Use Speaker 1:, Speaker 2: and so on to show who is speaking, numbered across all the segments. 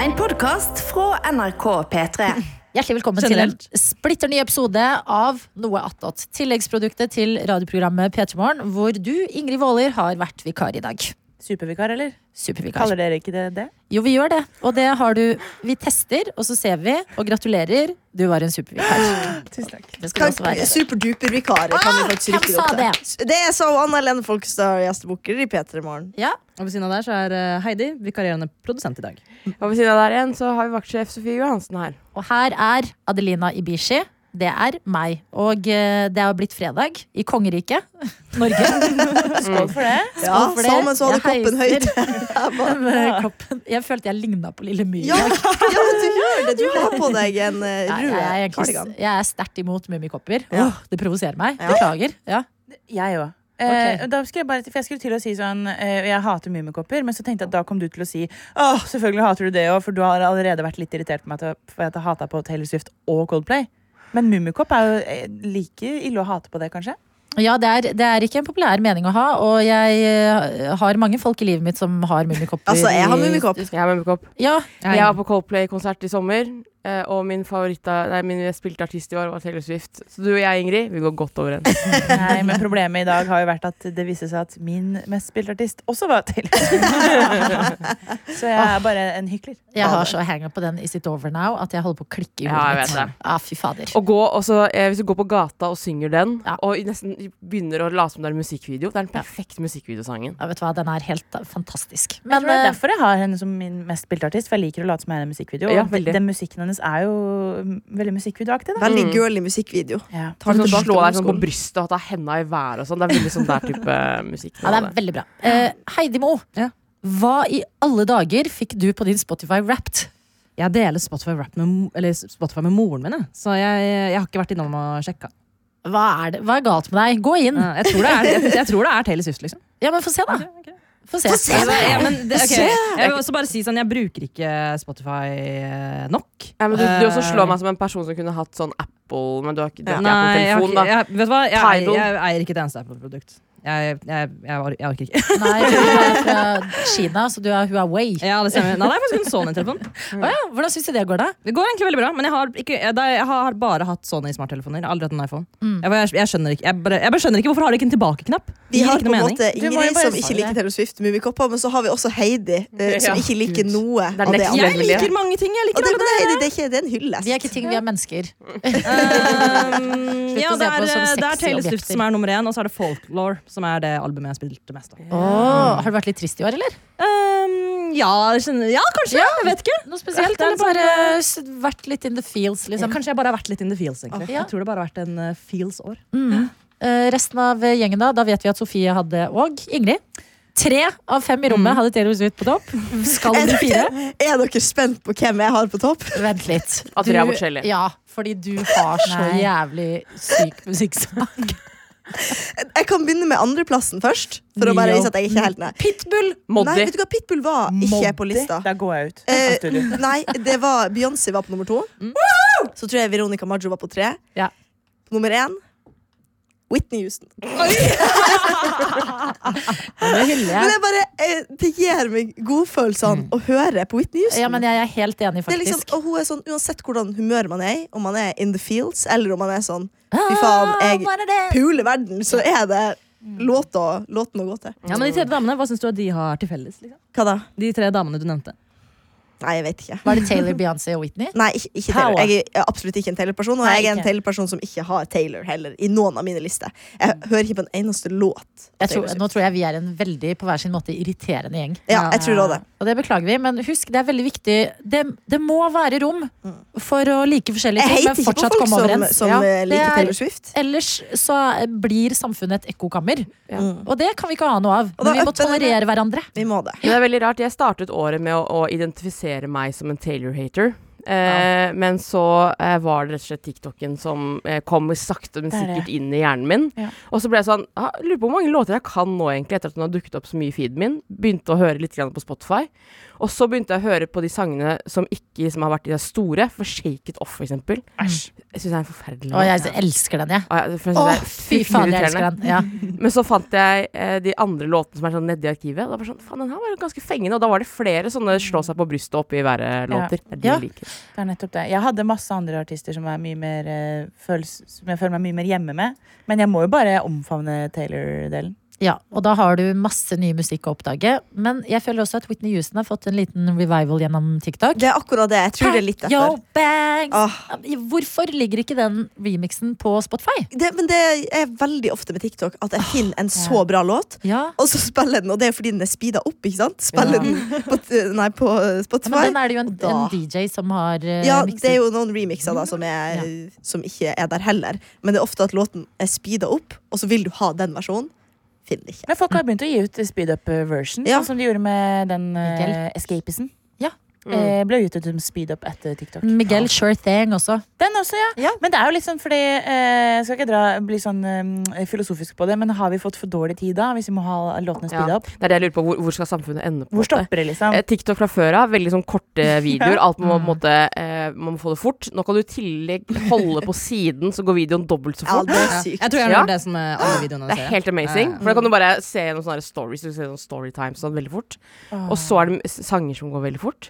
Speaker 1: En podkast fra NRK P3.
Speaker 2: Hjertelig velkommen
Speaker 3: Generelt.
Speaker 2: til en splitter ny episode av Noe attåt. Tilleggsproduktet til radioprogrammet P3 Morgen, hvor du, Ingrid Waaler, har vært vikar i dag.
Speaker 3: Supervikar, eller?
Speaker 2: Supervikar.
Speaker 3: Kaller dere ikke det det?
Speaker 2: Jo, vi gjør det. Og det har du Vi tester, og så ser vi, og gratulerer. Du var en supervikar.
Speaker 3: Tusen takk.
Speaker 2: Det skal du også være.
Speaker 4: Superduper-vikarer kan vi faktisk
Speaker 2: hvem
Speaker 4: rykke
Speaker 2: sa
Speaker 4: opp til. Det sa hun Anna Helene Folkestad, gjestebukker i P3 Morgen.
Speaker 2: Ja,
Speaker 5: Og ved siden av der så er eh, Heidi, vikarierende produsent i dag.
Speaker 6: Og ved siden av der igjen så har vi vaktsjef Sofie Johansen her.
Speaker 2: Og her er Adelina Ibishi. Det er meg. Og eh, det har blitt fredag i kongeriket Norge.
Speaker 3: Skål for det.
Speaker 4: Ja,
Speaker 2: Skål for det.
Speaker 4: Sammen så hadde
Speaker 2: Jeg
Speaker 4: koppen høyt.
Speaker 2: heiser Med koppen. Jeg følte jeg ligna på Lille My. i
Speaker 4: Ja,
Speaker 2: dag.
Speaker 4: ja, men du gjør det. Du har på deg en eh,
Speaker 2: Nei,
Speaker 4: rød
Speaker 2: jeg, er egentlig,
Speaker 4: kardigan.
Speaker 2: jeg er sterkt imot mummikopper.
Speaker 4: Ja.
Speaker 2: Åh, det provoserer meg.
Speaker 4: Ja.
Speaker 2: Beklager. Ja.
Speaker 3: Jeg òg.
Speaker 2: Ok.
Speaker 3: Eh, da skulle jeg, bare, for jeg skulle til å si sånn eh, Jeg hater mummikopper, men så tenkte jeg at da kom du til å si Åh, selvfølgelig hater du det òg, for du har allerede vært litt irritert på meg til- for at jeg hata på Taylor Swift og Coldplay. Men mummikopp er jo eh, like ille å hate på det, kanskje?
Speaker 2: Ja, det er, det er ikke en populær mening å ha, og jeg eh, har mange folk i livet mitt som har mummikopper.
Speaker 4: Altså, jeg har
Speaker 2: i-
Speaker 4: mummikopp.
Speaker 6: Jeg har mummikopp.
Speaker 2: Ja,
Speaker 6: Jeg var på Coldplay-konsert i sommer, eh, og min, favoritt av- nei, min spilte artist i år var Taylor Swift. Så du og jeg, Ingrid, vi går godt overens.
Speaker 3: Nei, men problemet i dag har jo vært at det viste seg at min mest spilte artist også var Taylor Swift. så jeg er bare en hykler.
Speaker 2: jeg har så hanga på den Is it over now at jeg holder på å klikke i
Speaker 6: Ja,
Speaker 2: hodet
Speaker 6: jeg
Speaker 2: mitt.
Speaker 6: vet det.
Speaker 2: Ah, fy fader.
Speaker 6: Og gå, og så, eh, hvis du går på gata og synger den,
Speaker 2: Ja.
Speaker 6: og nesten begynner å late som det er en musikkvideo, det er den perfekte musikkvideosangen.
Speaker 2: Ja, vet du hva, den er helt eh, fantastisk.
Speaker 3: Jeg
Speaker 2: Men
Speaker 3: tror det er
Speaker 2: eh,
Speaker 3: derfor jeg har henne som min mest spilte artist, for jeg liker å late som jeg er i en musikkvideo. og
Speaker 6: Ja,
Speaker 3: den,
Speaker 6: veldig.
Speaker 3: den musikken hennes er jo mm, veldig musikkvideoaktig, da.
Speaker 4: Veldig girly musikkvideo.
Speaker 3: Ja.
Speaker 6: Tar du
Speaker 4: det
Speaker 6: til
Speaker 4: tilbake
Speaker 6: å
Speaker 4: til
Speaker 6: slå deg sånn på
Speaker 4: ungdomsskolen.
Speaker 6: brystet og ta henda i været og sånn. Det er veldig sånn der type musikk.
Speaker 2: ja, det er veldig bra. Eh, Heidi Mo,
Speaker 5: Ja.
Speaker 2: hva i alle dager fikk du på din Spotify Wrapped?
Speaker 5: Jeg deler Spotify, rap med, mo- eller Spotify med moren min, jeg. så jeg, jeg har ikke vært innom og sjekka.
Speaker 2: Hva er, det? hva er galt med deg? Gå inn.
Speaker 5: Eh, Jeg tror det er, jeg, jeg tror det er Taylor Swift, liksom.
Speaker 2: Ja, men få se, da. Få se.
Speaker 5: Altså, ja, men det, ok. Jeg vil også bare si sånn, jeg bruker ikke Spotify eh, nok.
Speaker 6: Ja, men du, du også
Speaker 5: Eh,
Speaker 6: slår meg som en person som kunne hatt sånn Apple, men du har ikke, du har ikke
Speaker 5: Nei, jeg, har
Speaker 6: Apple-telefon,
Speaker 5: ikke-
Speaker 6: da.
Speaker 5: jeg, vet du hva? Jeg, eier-
Speaker 6: Tidal.
Speaker 5: jeg eier ikke et eneste Apple-produkt. Jeg, jeg, jeg, or- jeg orker ikke.
Speaker 2: Nei, for du er fra Kina, så du er Huawei.
Speaker 5: Ja, det stemmer. Nei, det er faktisk en Sony-telefon.
Speaker 2: Å ja, hvordan syns du det går, da?
Speaker 5: Det går egentlig veldig bra, men jeg har, ikke, jeg, da- jeg har bare hatt Sony smarttelefoner. Jeg har Aldri hatt en iPhone.
Speaker 2: Mm.
Speaker 5: Jeg, bare- jeg, jeg skjønner ikke jeg bare, jeg bare skjønner ikke Hvorfor har de ikke en tilbake-knapp? Det
Speaker 4: Vi
Speaker 5: gir
Speaker 4: har
Speaker 5: ikke
Speaker 4: på en
Speaker 5: noe mening.
Speaker 4: måte
Speaker 3: Du må jo bare
Speaker 4: Ingrid som
Speaker 3: svare.
Speaker 4: ikke liker Taylor Swift, mummikopper, men så har vi også Heidi, eh, som
Speaker 6: Ja.
Speaker 4: ikke liker noe
Speaker 6: er
Speaker 4: av det
Speaker 6: nesten
Speaker 4: andre
Speaker 5: Jeg
Speaker 6: Veldig.
Speaker 5: liker mange ting. Jeg
Speaker 4: Og
Speaker 5: liker
Speaker 4: det,
Speaker 5: alle
Speaker 4: men det,
Speaker 5: det.
Speaker 4: Heidi, det, er ikke, det er en hyllest.
Speaker 2: Vi er ikke ting, vi er mennesker.
Speaker 5: Ehm, ja,
Speaker 2: å se
Speaker 5: det
Speaker 2: på
Speaker 5: er,
Speaker 2: oss som
Speaker 5: det er
Speaker 2: sexy
Speaker 5: Taylor
Speaker 2: objekter.
Speaker 5: Swift som er nummer én, og så er det Folklore, som er det albumet jeg spilte mest av.
Speaker 2: Åh, har du vært litt trist i år, eller?
Speaker 5: Ehm, ja, jeg skjønner- ja, kanskje. Jeg vet ikke.
Speaker 2: Noe spesielt? sånn-
Speaker 5: Ja, det er
Speaker 2: Eller bare
Speaker 5: bare-
Speaker 2: s- vært litt in the feels, liksom?
Speaker 5: Kanskje jeg bare har vært litt in the feels. egentlig
Speaker 2: Ja.
Speaker 5: Jeg tror det bare har vært en eh, feels-år.
Speaker 2: Eh, resten av gjengen, da? Da vet vi at Sofie hadde og Ingrid. Tre av fem i rommet hadde Taylor Swift på topp. Skal
Speaker 4: Er
Speaker 2: vi fire?
Speaker 4: dere, er dere spent på hvem jeg har på topp?
Speaker 2: Vent litt.
Speaker 6: At dere er forskjellige.
Speaker 2: Ja, fordi du har så
Speaker 3: Nei.
Speaker 2: jævlig syk musikksmak.
Speaker 4: Jeg kan begynne med andreplassen først. For å bare
Speaker 2: Ja.
Speaker 4: vise at jeg ikke er helt nei.
Speaker 2: Pitbull!
Speaker 4: Nei,
Speaker 6: Moddi.
Speaker 4: vet du hva? Pitbull var ikke på lista.
Speaker 3: Da går jeg ut av
Speaker 4: Eh,
Speaker 3: studio.
Speaker 4: nei, det var Beyoncé var på nummer to. Så tror jeg Veronica Maggio var på tre.
Speaker 2: Mm. Ja.
Speaker 4: På nummer én Whitney Houston.
Speaker 2: Det hyller
Speaker 4: Men
Speaker 2: jeg.
Speaker 4: jeg bare, eh, det gir meg godfølelsene å høre på Whitney Houston.
Speaker 2: Mm. Ja, men jeg er helt enig,
Speaker 4: det er liksom,
Speaker 2: faktisk.
Speaker 4: og hun er sånn, Uansett hvordan humør man er i, om man er in the fields eller om man er sånn
Speaker 2: Ah,
Speaker 4: Fy faen, jeg puler verden, så er det
Speaker 2: Mm.
Speaker 4: låta, låten å gå til.
Speaker 5: Ja, men de tre damene, Hva syns du at de har til felles? Liksom?
Speaker 4: Hva da?
Speaker 5: De tre damene du nevnte.
Speaker 4: Nei, jeg vet ikke.
Speaker 2: Var det Taylor, Beyoncé og Whitney?
Speaker 4: Nei, ikke, ikke Taylor.
Speaker 2: Power.
Speaker 4: Jeg er absolutt ikke en Taylor-person. Og
Speaker 2: Nei,
Speaker 4: jeg er en
Speaker 2: ikke.
Speaker 4: Taylor-person som ikke har Taylor heller i noen av mine lister. Jeg hører ikke på en eneste låt. av
Speaker 2: Mm. Jeg tror,
Speaker 4: Taylor Swift.
Speaker 2: nå tror jeg vi er en veldig på hver sin måte irriterende gjeng.
Speaker 4: Ja, jeg tror også det.
Speaker 2: Og det beklager vi, men husk, det er veldig viktig. Det, det må være rom for å like forskjellige
Speaker 4: Jeg
Speaker 2: ting, sånn, men
Speaker 4: hater ikke på
Speaker 2: fortsatt
Speaker 4: folk
Speaker 2: komme
Speaker 4: som,
Speaker 2: overens.
Speaker 4: som
Speaker 2: Ja,
Speaker 4: eh,
Speaker 2: det er-
Speaker 4: liker Taylor Swift.
Speaker 2: Ellers så eh, blir samfunnet et ekkokammer. Og det kan vi ikke ha noe av.
Speaker 4: da
Speaker 2: Men vi må
Speaker 4: øpper det med-
Speaker 2: tolerere hverandre.
Speaker 4: Mm. Vi må det.
Speaker 6: Men det er veldig rart. Jeg startet året med å, å identifisere meg som en Taylor-hater. Eh, Men så eh, var det rett og slett TikToken som eh, kom sakte, men
Speaker 3: Det er det.
Speaker 6: sikkert inn i hjernen min.
Speaker 3: Ja.
Speaker 6: Og så ble jeg sånn ah, Lurer på hvor mange låter jeg kan nå, egentlig, etter at den har dukket opp så mye i feeden min. Begynte å høre litt grann på Spotify. Og så begynte jeg å høre på de sangene som ikke som har vært de der store. For Shake It Off, for eksempel.
Speaker 3: Æsj.
Speaker 6: Jeg syns det er en forferdelig
Speaker 2: Å, jeg elsker den, jeg.
Speaker 6: Å, jeg- for jeg
Speaker 2: Å,
Speaker 6: synes det er
Speaker 2: fy faen, jeg elsker
Speaker 6: irriterende.
Speaker 2: den. Ja.
Speaker 6: Men så fant jeg eh, de andre låtene som er sånn nedi arkivet. Og da var jeg sånn, faen, den her var jo ganske fengende. Og da var det flere sånne slå seg på brystet og oppe i været-låter. Det er de
Speaker 2: Ja.
Speaker 6: jeg liker.
Speaker 3: Det er nettopp det. Jeg hadde masse andre artister som, er mye mer, eh, føles, som jeg føler meg mye mer hjemme med. Men jeg må jo bare omfavne Taylor-delen.
Speaker 2: Ja, og da har du masse ny musikk å oppdage. Men jeg føler også at Whitney Houston har fått en liten revival gjennom TikTok.
Speaker 4: Det er akkurat det. Jeg tror det er litt
Speaker 2: Yo,
Speaker 4: etter.
Speaker 2: bangs!
Speaker 4: Ah,
Speaker 2: Hvorfor ligger ikke den remixen på Spotify?
Speaker 4: det, men det er veldig ofte med TikTok at
Speaker 2: Ah,
Speaker 4: jeg finner en så bra låt,
Speaker 2: Ja,
Speaker 4: og så spiller den, og det er fordi den er speeda opp, ikke sant? Spiller
Speaker 6: Ja.
Speaker 4: den på, t- nei, på
Speaker 2: men
Speaker 4: Spotify.
Speaker 2: den er det jo en,
Speaker 4: Da.
Speaker 2: en DJ som har eh,
Speaker 4: Ja,
Speaker 2: mikset.
Speaker 4: det er jo noen remixer
Speaker 5: Mm.
Speaker 4: da, som, er, som ikke er der heller. Men det er ofte at låten er speeda opp, og så vil du ha den versjonen. Finner det ikke.
Speaker 3: Men folk har begynt å gi ut speed up-version,
Speaker 4: Ja.
Speaker 3: sånn som de gjorde med den uh,
Speaker 2: Miguel.
Speaker 3: Escapisen.
Speaker 2: Ja.
Speaker 3: Eh, ble gitt ut som speed up etter TikTok.
Speaker 2: Miguel Sure Thing også.
Speaker 3: Den også, ja.
Speaker 4: Ja.
Speaker 3: Men det er jo litt sånn fordi eh, Jeg skal ikke dra, bli sånn eh, filosofisk på det, men har vi fått for dårlig tid da, hvis vi må ha låtene
Speaker 6: Ja.
Speaker 3: speeda opp?
Speaker 6: Det er det jeg lurer på. Hvor, hvor skal samfunnet ende
Speaker 3: Hvor
Speaker 6: på? en måte?
Speaker 3: stopper det, liksom?
Speaker 6: Eh, TikTok fra før av, veldig sånn korte videoer. Alt må,
Speaker 3: Mm.
Speaker 6: på en måte, eh, man må få det fort. Nå kan du i tillegg holde på siden, så går videoen dobbelt så
Speaker 4: Ja,
Speaker 6: fort.
Speaker 4: det er
Speaker 5: Jeg
Speaker 4: sykt.
Speaker 5: tror jeg
Speaker 6: Ja.
Speaker 5: har hørt det som er alle videoene
Speaker 6: Det
Speaker 5: jeg
Speaker 6: er
Speaker 5: ser.
Speaker 6: helt amazing.
Speaker 5: Ja.
Speaker 6: For da kan du bare se noen sånne stories, du ser sånn storytime sånn veldig fort. Og så er det s- sanger som går veldig fort.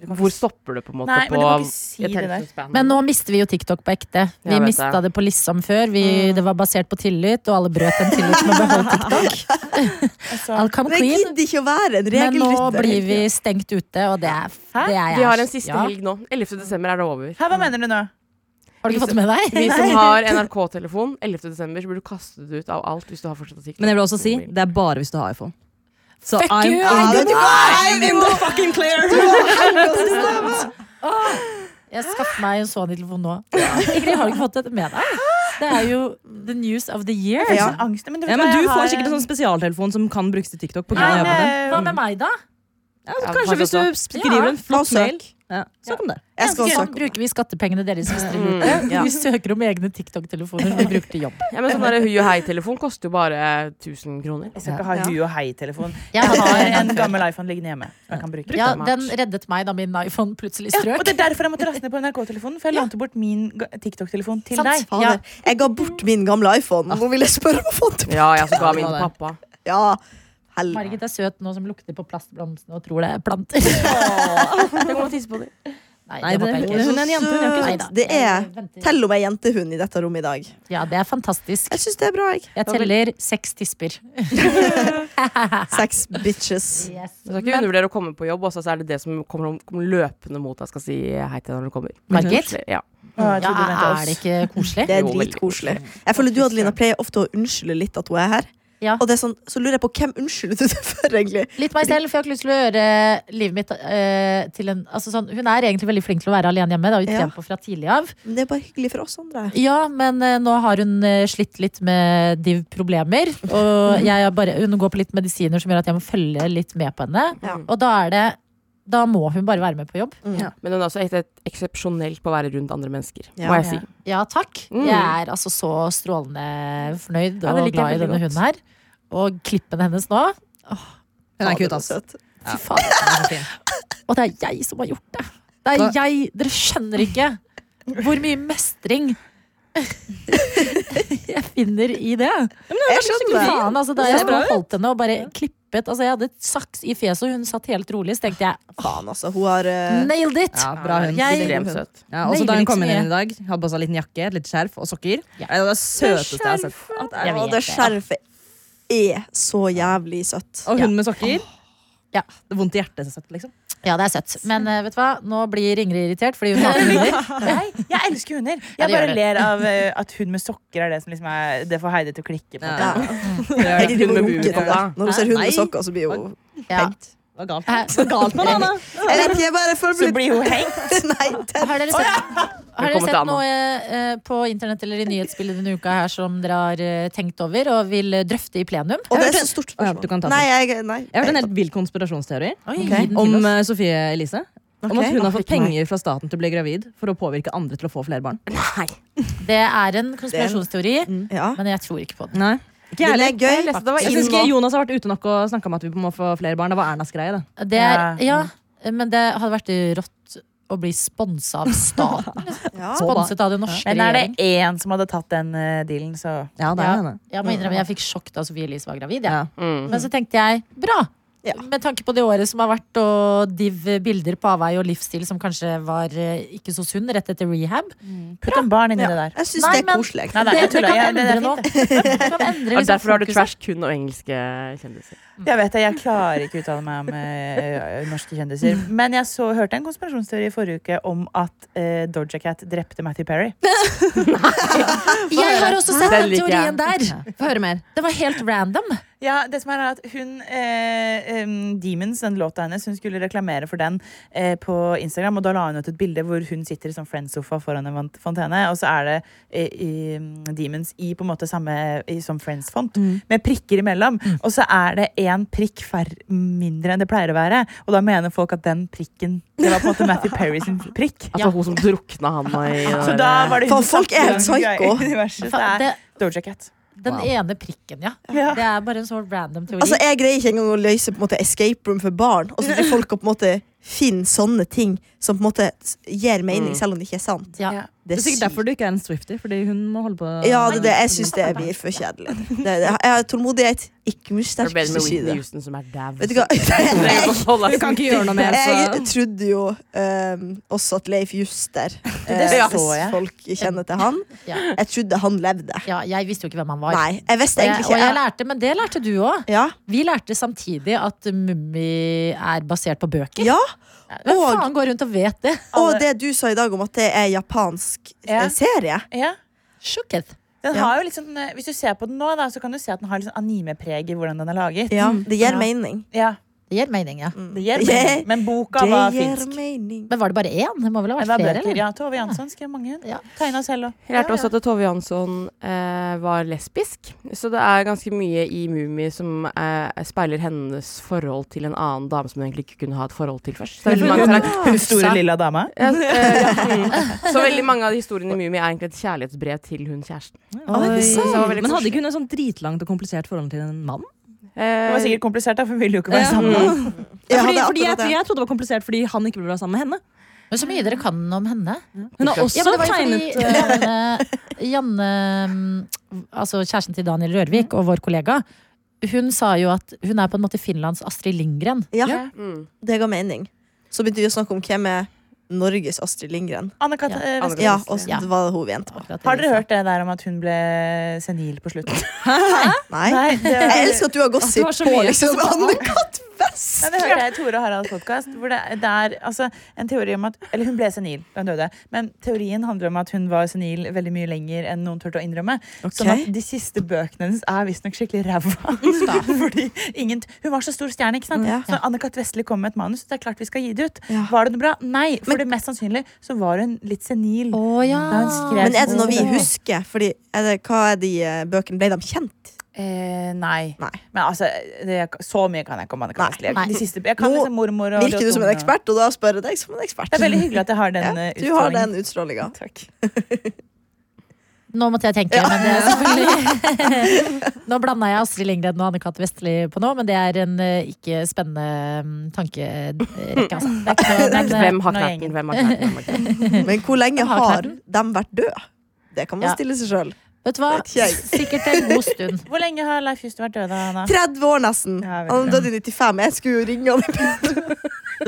Speaker 6: Hvor stopper du på en måte
Speaker 3: Nei, men
Speaker 6: på
Speaker 3: du kan ikke si det der.
Speaker 2: Men nå mister vi jo TikTok på ekte. Vi
Speaker 6: Jeg vet
Speaker 2: mista
Speaker 6: det.
Speaker 2: det på Lissom før. Vi,
Speaker 4: Mm.
Speaker 2: Det var basert på tillit, og alle brøt den tilliten med å beholde TikTok.
Speaker 3: Altså,
Speaker 2: I'll come
Speaker 4: Men jeg
Speaker 2: clean.
Speaker 4: gidder ikke å være en
Speaker 2: Men nå
Speaker 4: regelrytter.
Speaker 2: blir vi stengt ute, og det er,
Speaker 3: Hæ?
Speaker 2: det er jeg.
Speaker 6: Vi har en siste
Speaker 2: Ja.
Speaker 6: helg nå. 11. desember er det over.
Speaker 3: Hæ, hva mener du nå?
Speaker 2: Har du ikke fått det med deg?
Speaker 6: Vi som har NRK-telefon, 11. desember, så blir du kastet ut av alt hvis du har fortsatt TikTok.
Speaker 5: Men jeg vil også si det er bare hvis du har iPhone. Så
Speaker 2: Fuck
Speaker 5: I'm,
Speaker 2: you!
Speaker 5: in
Speaker 4: Nei,
Speaker 5: the,
Speaker 4: vet du hva?
Speaker 5: I'm in the fucking clear!
Speaker 2: Jeg skaffer meg en sånn telefon nå. Ingrid, har du ikke fått dette med deg? Det er jo the news of the year.
Speaker 4: Ja.
Speaker 3: Sånn angst, men du, vet
Speaker 5: Ja, men
Speaker 3: hva,
Speaker 5: du
Speaker 3: jeg har
Speaker 5: får sikkert en
Speaker 3: en-
Speaker 5: sånn spesialtelefon som kan brukes til TikTok. På grunn
Speaker 3: Nei,
Speaker 5: av jobben din.
Speaker 3: men-
Speaker 2: Hva med meg, da?
Speaker 5: Ja,
Speaker 6: Ja,
Speaker 5: kanskje hvis
Speaker 6: kanskje
Speaker 5: du skriver en flott
Speaker 4: Kan søke.
Speaker 5: mail. Ja, søk om det.
Speaker 4: Jeg skal
Speaker 2: Sånn
Speaker 4: søke.
Speaker 2: bruker vi skattepengene deres. hvis dere
Speaker 6: Mm.
Speaker 2: lurer. Vi søker om egne TikTok-telefoner vi bruker til jobb.
Speaker 6: Ja, men sånn der hui og hei-telefon koster jo bare 1000 kroner.
Speaker 3: Jeg skal ikke ha
Speaker 4: Ja.
Speaker 3: hu og hei-telefon.
Speaker 2: Jeg
Speaker 3: Jeg har
Speaker 2: har
Speaker 3: en gammel iPhone liggende hjemme. Som jeg kan bruke.
Speaker 2: ja, den reddet meg da min iPhone plutselig
Speaker 3: Ja, og
Speaker 2: strøk.
Speaker 3: det er derfor jeg måtte raste ned på NRK-telefonen, for jeg lånte bort min ga- TikTok-telefon til
Speaker 2: Sant.
Speaker 3: deg.
Speaker 4: Fader,
Speaker 2: Ja.
Speaker 4: Jeg ga bort min gamle
Speaker 5: Ah.
Speaker 4: iPhone. Nå vil jeg spørre om å få den tilbake.
Speaker 6: Ja, jeg som ga min
Speaker 5: Ja, det
Speaker 6: til
Speaker 5: var
Speaker 6: pappa.
Speaker 4: Ja, helvete.
Speaker 2: Margit er søt nå som lukter på plastblomstene og tror det er planter.
Speaker 6: Jeg kommer til å tisse på dem.
Speaker 2: Nei,
Speaker 5: Nei,
Speaker 2: det håper
Speaker 5: det-
Speaker 2: jeg
Speaker 5: hun
Speaker 2: ikke.
Speaker 5: er en jente, hun gjør ikke
Speaker 2: Nei
Speaker 5: sånt.
Speaker 2: da,
Speaker 4: Det er
Speaker 2: jeg venter.
Speaker 4: Tell om jeg er jentehund i dette rommet i dag.
Speaker 2: Ja, det er fantastisk.
Speaker 4: Jeg syns det er bra. jeg
Speaker 2: Jeg teller seks tisper.
Speaker 4: Sex bitches.
Speaker 6: Du skal ikke undervurdere å komme på jobb, og så er det det som kommer, kommer løpende mot deg. Skal si hei til deg når du kommer.
Speaker 2: Margit?
Speaker 6: Ja.
Speaker 3: Å, jeg
Speaker 2: Ja,
Speaker 3: trodde du mente
Speaker 2: er det
Speaker 3: oss.
Speaker 2: ikke koselig?
Speaker 4: Det er
Speaker 6: Jo, veldig
Speaker 4: dritkoselig. Jeg føler du Adelina, pleier ofte å unnskylde litt at hun er her.
Speaker 2: Ja.
Speaker 4: Og det er sånn, så lurer jeg på hvem unnskylder du det for, egentlig?
Speaker 2: Litt meg selv, for jeg har ikke lyst til å gjøre livet mitt eh, til en altså sånn, Hun er egentlig veldig flink til å være alene hjemme, det har vi
Speaker 4: Ja.
Speaker 2: trent på fra tidlig av.
Speaker 4: Men det er bare hyggelig for oss andre.
Speaker 2: Ja, men eh, nå har hun eh, slitt litt med div-problemer. Og jeg er bare, hun går på litt medisiner som gjør at jeg må følge litt med på henne.
Speaker 4: Ja.
Speaker 2: Og da er det Da må hun bare være med på jobb.
Speaker 6: Men hun er også helt eksepsjonelt på å være rundt andre mennesker,
Speaker 4: Ja.
Speaker 6: må jeg si.
Speaker 2: Ja, takk.
Speaker 6: Mm.
Speaker 2: Jeg er altså så strålende fornøyd
Speaker 6: Ja, det
Speaker 2: og
Speaker 6: liker jeg
Speaker 2: glad i
Speaker 6: veldig
Speaker 2: denne
Speaker 6: godt.
Speaker 2: hunden her. Og klippen hennes nå.
Speaker 5: Hun er
Speaker 4: Fader,
Speaker 5: cute, ass.
Speaker 4: så søt.
Speaker 2: Fy faen. Og det er jeg som har gjort det. Det er
Speaker 5: Hva-
Speaker 2: jeg. Dere skjønner ikke hvor mye mestring jeg finner i det.
Speaker 4: Jeg skjønner det.
Speaker 2: Faen, altså, da jeg bare holdt henne og bare klippet altså, Jeg hadde et saks i fjeset, og hun satt helt rolig. Så tenkte jeg
Speaker 4: Faen, altså. Hun har eh,
Speaker 2: nailed it!
Speaker 5: Ja, bra hund.
Speaker 2: Jeg-
Speaker 6: Ekstremt søt.
Speaker 5: Ja, også
Speaker 2: Nailer
Speaker 5: da hun
Speaker 2: ikke så
Speaker 5: kom inn
Speaker 2: mye.
Speaker 5: i dag, hadde på seg en liten jakke, et lite skjerf og sokker.
Speaker 2: Ja.
Speaker 5: Nei, Det var det søteste jeg har sett. At det er-
Speaker 2: Jeg
Speaker 4: Å,
Speaker 2: vet
Speaker 4: det
Speaker 2: det.
Speaker 4: skjerfet er så jævlig søtt.
Speaker 5: Og hun med sokker.
Speaker 2: Ja.
Speaker 5: Det er vondt i hjertet. så søtt, Liksom.
Speaker 2: Ja, det er søtt. Men eh, vet du hva? nå blir Ingrid irritert fordi hun hater hunder.
Speaker 3: Nei, jeg elsker hunder.
Speaker 2: Ja,
Speaker 3: Jeg
Speaker 2: det gjør
Speaker 3: bare
Speaker 2: det.
Speaker 3: ler av eh, at hun med sokker er det som liksom er Det får Heidi til å klikke på.
Speaker 5: Ja.
Speaker 4: Ja.
Speaker 5: Det
Speaker 4: Jeg driver og
Speaker 5: Hundebu-
Speaker 4: runker til det. Når hun ser hund
Speaker 5: Nei.
Speaker 4: med sokker, så blir hun
Speaker 2: Ja.
Speaker 4: hengt.
Speaker 5: Det var galt.
Speaker 2: Eh,
Speaker 5: Det var galt med Anna.
Speaker 4: Jeg vet ikke, jeg bare føler
Speaker 3: Så
Speaker 4: meg
Speaker 3: blir hun hengt.
Speaker 4: litt Nei, det
Speaker 2: Har dere sett, har dere
Speaker 6: Velkommen til
Speaker 2: sett
Speaker 6: Anna.
Speaker 2: noe eh, på internett eller i nyhetsbildet denne uka her som dere har eh, tenkt over og vil eh, drøfte i plenum?
Speaker 4: Og det er
Speaker 5: hørte-
Speaker 4: så stort
Speaker 5: Å ja, du kan
Speaker 4: spørsmål.
Speaker 5: ta
Speaker 4: Nei, jeg, nei.
Speaker 5: Jeg hørte en helt vill konspirasjonsteori
Speaker 2: Gi den til
Speaker 5: om
Speaker 2: oss.
Speaker 5: eh, Sofie Elise. Om at hun har fått
Speaker 6: Fikk meg.
Speaker 5: penger fra staten til å bli gravid for å påvirke andre til å få flere barn.
Speaker 6: Nei.
Speaker 2: Det er en konspirasjonsteori,
Speaker 4: Ja.
Speaker 2: men jeg tror ikke på den.
Speaker 5: Nei. Ikke
Speaker 4: Den er
Speaker 5: jeg heller.
Speaker 4: gøy.
Speaker 6: Jeg leste det var
Speaker 5: Jeg
Speaker 6: inn
Speaker 5: synes ikke
Speaker 6: nå.
Speaker 5: Jonas har vært ute nok og snakka om at vi må få flere barn. Det var Ernas greie, det.
Speaker 2: Det er,
Speaker 3: Ja.
Speaker 2: ja, men det hadde vært rått å bli sponsa av staten.
Speaker 4: Ja.
Speaker 2: Sponset av den norske
Speaker 3: Men er det
Speaker 2: regjeringen.
Speaker 3: én som hadde tatt den eh, dealen, så
Speaker 5: Ja, det er henne.
Speaker 2: Jeg må innrømme, jeg fikk sjokk da Sofie Elise var gravid. jeg.
Speaker 5: Ja.
Speaker 6: Mm.
Speaker 2: Men så tenkte jeg bra!
Speaker 4: Ja.
Speaker 2: Med tanke på det året som har vært, og div bilder på avvei og livsstil som kanskje var eh, ikke så sunn rett etter rehab.
Speaker 3: putt en barn inni
Speaker 4: Ja.
Speaker 3: det der.
Speaker 4: Jeg syns
Speaker 2: Nei,
Speaker 4: det er
Speaker 2: men-
Speaker 4: koselig.
Speaker 3: Nei, nei,
Speaker 2: Det,
Speaker 3: jeg
Speaker 2: det
Speaker 3: tuller.
Speaker 2: kan
Speaker 3: Jeg- det- det
Speaker 2: endre
Speaker 3: er
Speaker 2: nå.
Speaker 3: fint, det.
Speaker 2: Det kan endre
Speaker 6: Og
Speaker 2: liksom
Speaker 6: derfor har du
Speaker 2: fokuset.
Speaker 6: trash kun og engelske kjendiser.
Speaker 3: Jeg vet det, jeg klarer ikke å uttale meg om eh, norske kjendiser. Men jeg så, hørte en konspirasjonsteori i forrige uke om at eh, Doja Cat drepte Matty Perry.
Speaker 2: Jeg har også sett
Speaker 6: Den
Speaker 2: den
Speaker 6: liker jeg.
Speaker 2: teorien der!
Speaker 5: Få høre mer.
Speaker 2: Det var helt random.
Speaker 3: Ja, det som er at hun eh, em, Demons, den låta hennes, hun skulle reklamere for den eh, på Instagram. Og da la hun ut et bilde hvor hun sitter i sånn Friends-sofa foran en vant- fontene. Og så er det eh, i, mm, Demons i på en måte samme i, som Friends-font,
Speaker 2: Mm.
Speaker 3: med prikker imellom. Og så er det én prikk fær, mindre enn det pleier å være. Og da mener folk at den prikken Det var på en måte Matty Perry sin prikk.
Speaker 6: Altså hun som drukna han i
Speaker 3: Så da var det hun
Speaker 4: Faen, folk er helt
Speaker 3: som satte i gang
Speaker 4: psyko.
Speaker 3: universet.
Speaker 2: Fa-
Speaker 3: Det
Speaker 2: Det,
Speaker 3: er Doja Cat.
Speaker 2: den ene prikken, ja.
Speaker 3: Ja.
Speaker 2: Det er bare en sånn random teori.
Speaker 4: Altså, Jeg greier ikke engang å løse på en måte escape room for barn. Og så blir folk å på en måte finne sånne ting som på en måte s- gir mening,
Speaker 6: Mm.
Speaker 4: selv om det ikke er sant.
Speaker 2: ja.
Speaker 3: Ja.
Speaker 5: Det
Speaker 4: Det
Speaker 5: er sikkert derfor du ikke er en Swifty, fordi hun må holde på
Speaker 4: Ja, det, er det, jeg syns det blir for kjedelig. Det, det, jeg har tålmodighet. Ikke mye
Speaker 6: Det er bedre med
Speaker 4: sterkeste
Speaker 6: Whitney
Speaker 4: side.
Speaker 6: Houston som er dau.
Speaker 4: Vet du hva?
Speaker 5: Du kan ikke gjøre noe mer,
Speaker 4: Jeg
Speaker 5: så
Speaker 4: trodde jo ehm, også at Leif Juster
Speaker 3: Det
Speaker 4: eh,
Speaker 3: så
Speaker 4: Hvis
Speaker 3: jeg.
Speaker 4: folk kjenner til han.
Speaker 2: Ja.
Speaker 4: Jeg trodde han levde.
Speaker 2: ja, jeg visste jo ikke hvem han var.
Speaker 4: Nei, jeg visste
Speaker 2: Og jeg,
Speaker 4: egentlig
Speaker 2: og jeg
Speaker 4: ikke.
Speaker 2: lærte, men det lærte du òg.
Speaker 4: Ja,
Speaker 2: Vi lærte samtidig at Mummi er basert på bøker.
Speaker 4: ja.
Speaker 2: Hvem
Speaker 4: og-
Speaker 2: faen går rundt og vet det?
Speaker 4: Og det du sa i dag om at det er japansk eh,
Speaker 3: Ja.
Speaker 4: serie.
Speaker 3: Ja.
Speaker 2: Sjokket.
Speaker 3: Den
Speaker 4: Ja.
Speaker 3: har jo litt sånn, eh, hvis du ser på den nå, da, så kan du se at den har litt sånn anime-preg i hvordan den er laget.
Speaker 4: Ja, det
Speaker 3: Ja.
Speaker 4: gir mening.
Speaker 3: Ja,
Speaker 2: Det gir mening, ja.
Speaker 3: det gir
Speaker 4: Det
Speaker 3: mening.
Speaker 4: gir-
Speaker 3: Men boka
Speaker 4: Det
Speaker 3: var
Speaker 4: gir
Speaker 3: finsk.
Speaker 4: mening.
Speaker 2: Men var det bare én? Det må vel ha
Speaker 3: Det
Speaker 2: vært
Speaker 3: var
Speaker 2: flere?
Speaker 3: bøker.
Speaker 2: Eller?
Speaker 3: Ja, Tove Jansson skrev mange.
Speaker 2: Ja.
Speaker 3: Tegna selv òg.
Speaker 6: Jeg lærte også at Tove Jansson eh, var lesbisk, så det er ganske mye i Mummi som eh, speiler hennes forhold til en annen dame som hun egentlig ikke kunne ha et forhold til først. Så veldig mange karak-
Speaker 3: Hun store lilla dama.
Speaker 6: Ja, eh, ja, mm. Så veldig mange av de historiene i Mummi er egentlig et kjærlighetsbrev til hun kjæresten.
Speaker 4: Å, er det
Speaker 6: Så det
Speaker 4: sant?
Speaker 6: var veldig
Speaker 5: Men hadde
Speaker 6: koselig.
Speaker 5: ikke hun et sånn dritlangt og komplisert forhold til en mann?
Speaker 3: Det
Speaker 6: Eh,
Speaker 3: var sikkert komplisert, da, for hun ville jo ikke være
Speaker 5: Ja.
Speaker 3: sammen. med han.
Speaker 4: Ja,
Speaker 5: fordi,
Speaker 4: det er
Speaker 5: fordi jeg,
Speaker 4: akkurat det.
Speaker 5: jeg trodde det var komplisert fordi han ikke ble sammen med henne.
Speaker 2: Men så mye dere kan om henne.
Speaker 5: Hun har også
Speaker 2: Ja, men det var jo
Speaker 5: tegnet
Speaker 2: fordi eh, Janne, Janne mm, altså kjæresten til Daniel Rørvik og vår kollega, hun sa jo at hun er på en måte Finlands Astrid Lindgren.
Speaker 4: Ja,
Speaker 6: Mm.
Speaker 4: det ga mening. Så begynte vi å snakke om hvem er Norges Astrid Lindgren.
Speaker 3: Anne Kat-
Speaker 2: Ja.
Speaker 3: eh, Vest-
Speaker 6: Anne-Kat.
Speaker 4: Ja, og
Speaker 2: Ja.
Speaker 4: det var hun vi endte på.
Speaker 2: Akkurat det
Speaker 3: Har
Speaker 2: de
Speaker 3: dere
Speaker 2: sa.
Speaker 3: hørt det der om at hun ble senil på slutten?
Speaker 4: Nei.
Speaker 3: det, var-
Speaker 4: Jeg elsker at du har
Speaker 5: du
Speaker 4: gossip
Speaker 5: har så
Speaker 4: på
Speaker 5: mye.
Speaker 4: liksom Anne-Kat. West!
Speaker 3: Nei, det hørte jeg i Tore og Haralds podkast. Hvor det, det er altså, en teori om at Eller hun ble senil da hun døde. Men teorien handler om at hun var senil veldig mye lenger enn noen turte å innrømme. Sånn at de siste bøkene hennes er visstnok skikkelig ræva. Fordi ingen, hun var så stor stjerne, ikke sant?
Speaker 4: Ja.
Speaker 3: Så når Anne-Kat. Vestli kom med et manus, det er klart vi skal gi det ut.
Speaker 4: Ja.
Speaker 3: Var det noe bra? Nei. For det mest sannsynlig så var hun litt senil.
Speaker 2: Å ja.
Speaker 3: Da hun skrev-
Speaker 4: Men er det noe vi husker? Fordi, er det, hva er de eh, bøkene? Ble de kjent?
Speaker 3: Eh, nei.
Speaker 4: Nei.
Speaker 3: Men altså, det, så mye kan jeg ikke om Anne-Kat. Vestli.
Speaker 2: Nei.
Speaker 3: De siste- Jeg kan
Speaker 4: Nå
Speaker 3: liksom mormor og
Speaker 4: Virker du som en
Speaker 3: Rotungen og-
Speaker 4: ekspert? Og da spør jeg deg som en ekspert.
Speaker 3: Det er veldig hyggelig at jeg har den
Speaker 4: Ja,
Speaker 3: eh,
Speaker 4: Du har
Speaker 3: utstrålingen.
Speaker 4: den utstrålinga.
Speaker 2: Nå måtte jeg tenke, men det er selvfølgelig Nå blanda jeg Astrid Lindgren og Anne-Kat. Vestli på nå, men det er en eh, ikke spennende mm, tankerekke. Altså. Det er ikke noe, men, eh,
Speaker 6: Hvem har
Speaker 3: Nå er
Speaker 6: knerten?
Speaker 3: gjengen.
Speaker 6: Hvem har knerten? Hvem har knerten?
Speaker 4: Men hvor lenge
Speaker 2: har
Speaker 4: har
Speaker 2: klart
Speaker 4: de vært døde? Det kan man
Speaker 2: Ja.
Speaker 4: stille seg sjøl.
Speaker 2: vet du hva?
Speaker 4: Det er ikke
Speaker 2: Sikkert en god stund.
Speaker 3: Hvor lenge har Leif Juster vært død, da, Anna?
Speaker 4: 30 år nesten.
Speaker 3: Ja, jeg vet
Speaker 4: Han
Speaker 3: det.
Speaker 4: døde i 95. Jeg skulle jo ringe han.
Speaker 5: Dere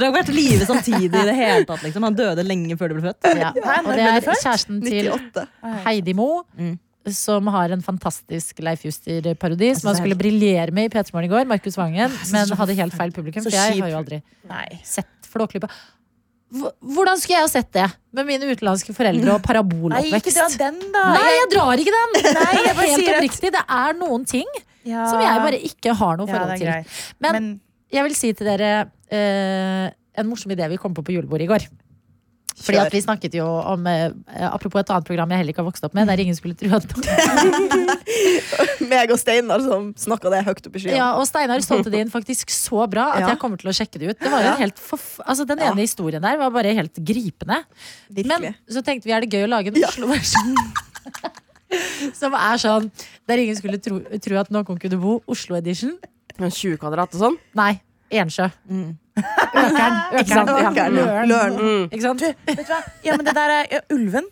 Speaker 5: har ikke vært i live samtidig i det hele tatt. Liksom. Han døde lenge før du ble født.
Speaker 2: Ja.
Speaker 3: Hæ, når
Speaker 2: Og det
Speaker 3: ble
Speaker 2: er
Speaker 3: du født?
Speaker 2: kjæresten til
Speaker 4: 98.
Speaker 2: Heidi Mo.
Speaker 5: Mm.
Speaker 2: Som har en fantastisk Leif Juster-parodi som han
Speaker 5: det er
Speaker 2: skulle briljere med i P3 Morgen i går. Markus Vangen, men hadde helt feil publikum.
Speaker 3: Så
Speaker 2: For jeg
Speaker 3: kjip.
Speaker 2: har jo aldri
Speaker 3: Nei.
Speaker 2: sett Flåklypa. Hv- Hvordan skulle jeg ha sett det? Med mine utenlandske foreldre og
Speaker 3: Nei, ikke dra
Speaker 2: paraboloppvekst.
Speaker 3: den, da.
Speaker 2: Nei, jeg drar ikke den!
Speaker 3: Nei, jeg bare
Speaker 2: Helt
Speaker 3: sier at-
Speaker 2: oppriktig, det er noen ting
Speaker 3: Ja.
Speaker 2: som jeg bare ikke har noe
Speaker 3: Ja, det
Speaker 2: forhold
Speaker 3: er
Speaker 2: til.
Speaker 3: greit.
Speaker 2: Men-
Speaker 3: Men
Speaker 2: Jeg vil si til dere eh, en morsom idé vi kom på på julebordet i går. Fordi at vi snakket jo om eh, Apropos et annet program jeg heller ikke har vokst opp med, der ingen skulle tro at
Speaker 4: Meg og Steinar som snakka det høyt opp i skyene.
Speaker 2: Ja, og Steinar solgte det inn faktisk så bra at
Speaker 4: Ja.
Speaker 2: jeg kommer til å sjekke det ut. Det var jo
Speaker 4: Ja.
Speaker 2: helt forf... Altså, den
Speaker 4: Ja.
Speaker 2: ene historien der var bare helt gripende. Men
Speaker 4: Virkelig.
Speaker 2: så tenkte vi er det gøy å lage en Oslo-versjon. Som er sånn der ingen skulle tro, tro at noen kunne bo. Oslo-edition.
Speaker 6: Men 20 kvadrat og sånn.
Speaker 2: Nei, Ensjø. Økern. Økern.
Speaker 4: Ja,
Speaker 2: Ja. Løren. Mm.
Speaker 4: Løren.
Speaker 2: Ikke sant?
Speaker 3: Vet du hva? Ja, men det der er ja, Ulven.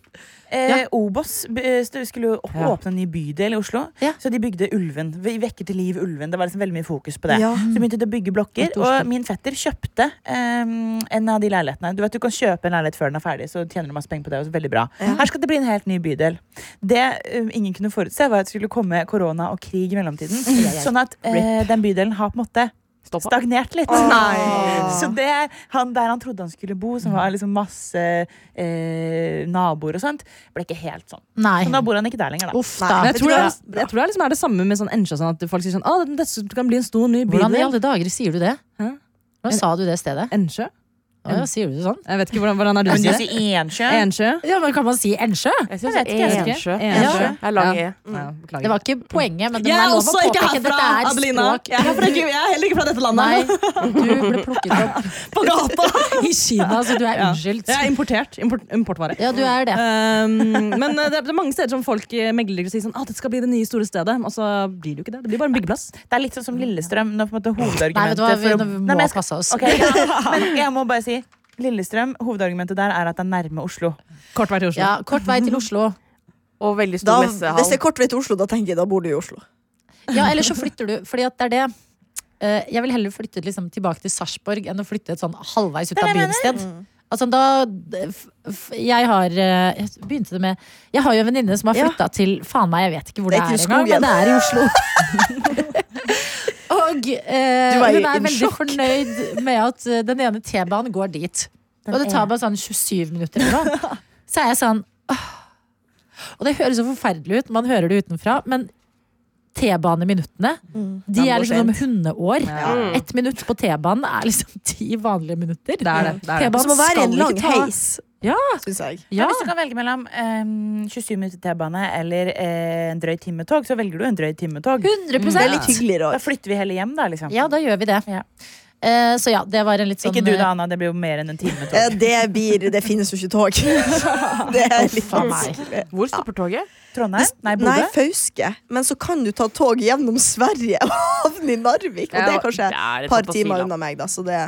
Speaker 3: Eh, Obos b- eh, st- skulle jo opp-
Speaker 6: Ja.
Speaker 3: åpne en ny bydel i Oslo,
Speaker 2: Ja.
Speaker 3: så de bygde Ulven. Vi vekker til liv Ulven. Det var liksom veldig mye fokus på det.
Speaker 4: Ja.
Speaker 3: Så begynte de å bygge blokker, og min fetter kjøpte em, en av de leilighetene. Du vet, du kan kjøpe en leilighet før den er ferdig, så tjener du masse penger på det. Og så veldig bra. Her skal det bli en helt ny bydel. Det em, ingen kunne forutse, var at det skulle komme korona og krig i mellomtiden. Sånn at eh, den bydelen har på en måte
Speaker 6: Stoppa.
Speaker 3: stagnert litt.
Speaker 4: Nei.
Speaker 3: Så det er han der han trodde han skulle bo, som var liksom masse eh, naboer og sånt, ble ikke helt sånn.
Speaker 2: Nei.
Speaker 3: Men da bor han ikke der lenger, da.
Speaker 2: Uff
Speaker 4: Nei,
Speaker 2: da.
Speaker 5: Men jeg
Speaker 4: Vet
Speaker 5: tror,
Speaker 4: du
Speaker 5: det,
Speaker 4: hva?
Speaker 5: er- jeg tror det er liksom er det samme med sånn Ensja. Sånn at folk sier sånn Å, det, det kan bli en stor, ny
Speaker 2: Hvordan i
Speaker 5: bydel.
Speaker 2: alle dager sier du det?
Speaker 5: Hæ?
Speaker 2: Hvordan sa du det stedet?
Speaker 5: Ensjø?
Speaker 2: Å, ja, sier du det sånn?
Speaker 5: Jeg vet ikke hvordan, hvordan er du
Speaker 3: Men du
Speaker 5: sier det?
Speaker 3: sier Ensjø?
Speaker 5: Ensjø?
Speaker 2: Ja, men Kan man si Ensjø?
Speaker 6: Jeg syns
Speaker 3: Jeg vet ikke, jeg
Speaker 5: vet
Speaker 6: Ensjø.
Speaker 5: ikke.
Speaker 6: Ensjø.
Speaker 3: Ensjø.
Speaker 6: Det er lang E.
Speaker 5: Ja, beklager.
Speaker 2: Det var ikke poenget, men det er lov å påpeke at dette er språk.
Speaker 5: heller ikke fra dette
Speaker 2: Nei, du ble plukket opp
Speaker 5: På gata!
Speaker 2: i Kina, så du er
Speaker 5: Ja.
Speaker 2: unnskyldt.
Speaker 5: Jeg er importert. Import, importvare.
Speaker 2: Ja, du er det.
Speaker 5: Um, men eh, det er, det er mange steder som folk eh, megler og sier sånn, at det skal bli det nye store stedet. Og så blir det jo ikke det. Det blir bare en byggeplass.
Speaker 3: Det er litt sånn som Lillestrøm. Når på en måte
Speaker 2: Nei, vet
Speaker 3: hovedargumentet
Speaker 2: du hva, vi,
Speaker 3: for å-
Speaker 2: nå- vi
Speaker 3: Nei,
Speaker 2: må
Speaker 3: men jeg skal-
Speaker 2: passe oss.
Speaker 3: Ok, ja. Men jeg må bare si Lillestrøm, hovedargumentet der er at det er nærme Oslo.
Speaker 5: Kort vei til Oslo.
Speaker 2: Ja, kort vei til Oslo.
Speaker 6: Og veldig
Speaker 4: Da,
Speaker 6: stor
Speaker 4: hvis det er
Speaker 6: messehall.
Speaker 4: kort vei til Oslo, da tenker jeg da bor du i Oslo.
Speaker 2: Ja, eller så flytter du, fordi at det er det. Eh, Jeg vil heller flytte liksom tilbake til Sarpsborg enn å flytte et sånn halvveis ut av byen sted.
Speaker 4: Mm.
Speaker 2: Altså, da, f, f, jeg har eh, jeg begynte det med Jeg har jo en venninne som har
Speaker 4: Ja.
Speaker 2: flytta til Faen meg, jeg vet ikke hvor
Speaker 4: Det
Speaker 2: det
Speaker 4: er
Speaker 2: er,
Speaker 4: ikke
Speaker 2: engang,
Speaker 4: skogen.
Speaker 2: men det er i Oslo. Og eh,
Speaker 4: Du er i
Speaker 2: hun er
Speaker 4: en
Speaker 2: veldig
Speaker 4: sjokk.
Speaker 2: fornøyd med at eh, den ene T-banen går dit. Og det tar bare sånn 27 minutter eller noe. Så er jeg sånn «Åh». Og det høres så forferdelig ut, man hører det utenfra, men T-baneminuttene, de
Speaker 5: Den
Speaker 2: er
Speaker 5: går
Speaker 2: liksom som
Speaker 5: sent.
Speaker 2: hundeår.
Speaker 5: Ja. Mm.
Speaker 2: Ett minutt på T-banen er liksom ti vanlige minutter.
Speaker 5: Det er det. det, er det.
Speaker 4: Som å være i en lang heis,
Speaker 2: Ja.
Speaker 4: syns jeg.
Speaker 2: Ja.
Speaker 3: Hvis du kan velge mellom em, 27 minutter T-bane eller eh, en drøy time tog, så velger du en drøy time tog.
Speaker 2: 100
Speaker 4: Mm. Det er litt hyggeligere
Speaker 3: Da
Speaker 4: òg.
Speaker 3: flytter vi heller hjem, da. liksom
Speaker 2: Ja, da gjør vi det.
Speaker 3: Ja.
Speaker 2: Eh, så ja, det var en litt sånn Eh,
Speaker 3: Ikke du da, Anna. Det blir jo mer enn en time tog.
Speaker 4: Det blir Det finnes jo ikke tog. Det er litt
Speaker 2: Faen
Speaker 4: vanskelig.
Speaker 2: meg.
Speaker 6: Hvor stopper toget?
Speaker 3: Trondheim? Nei,
Speaker 4: Nei,
Speaker 3: Bodø?
Speaker 4: Fauske. Men så kan du ta tog gjennom Sverige og havne i Narvik. Og det er kanskje
Speaker 6: Det er et
Speaker 4: et par
Speaker 6: fantasiland.
Speaker 4: timer unna meg, da. Så det,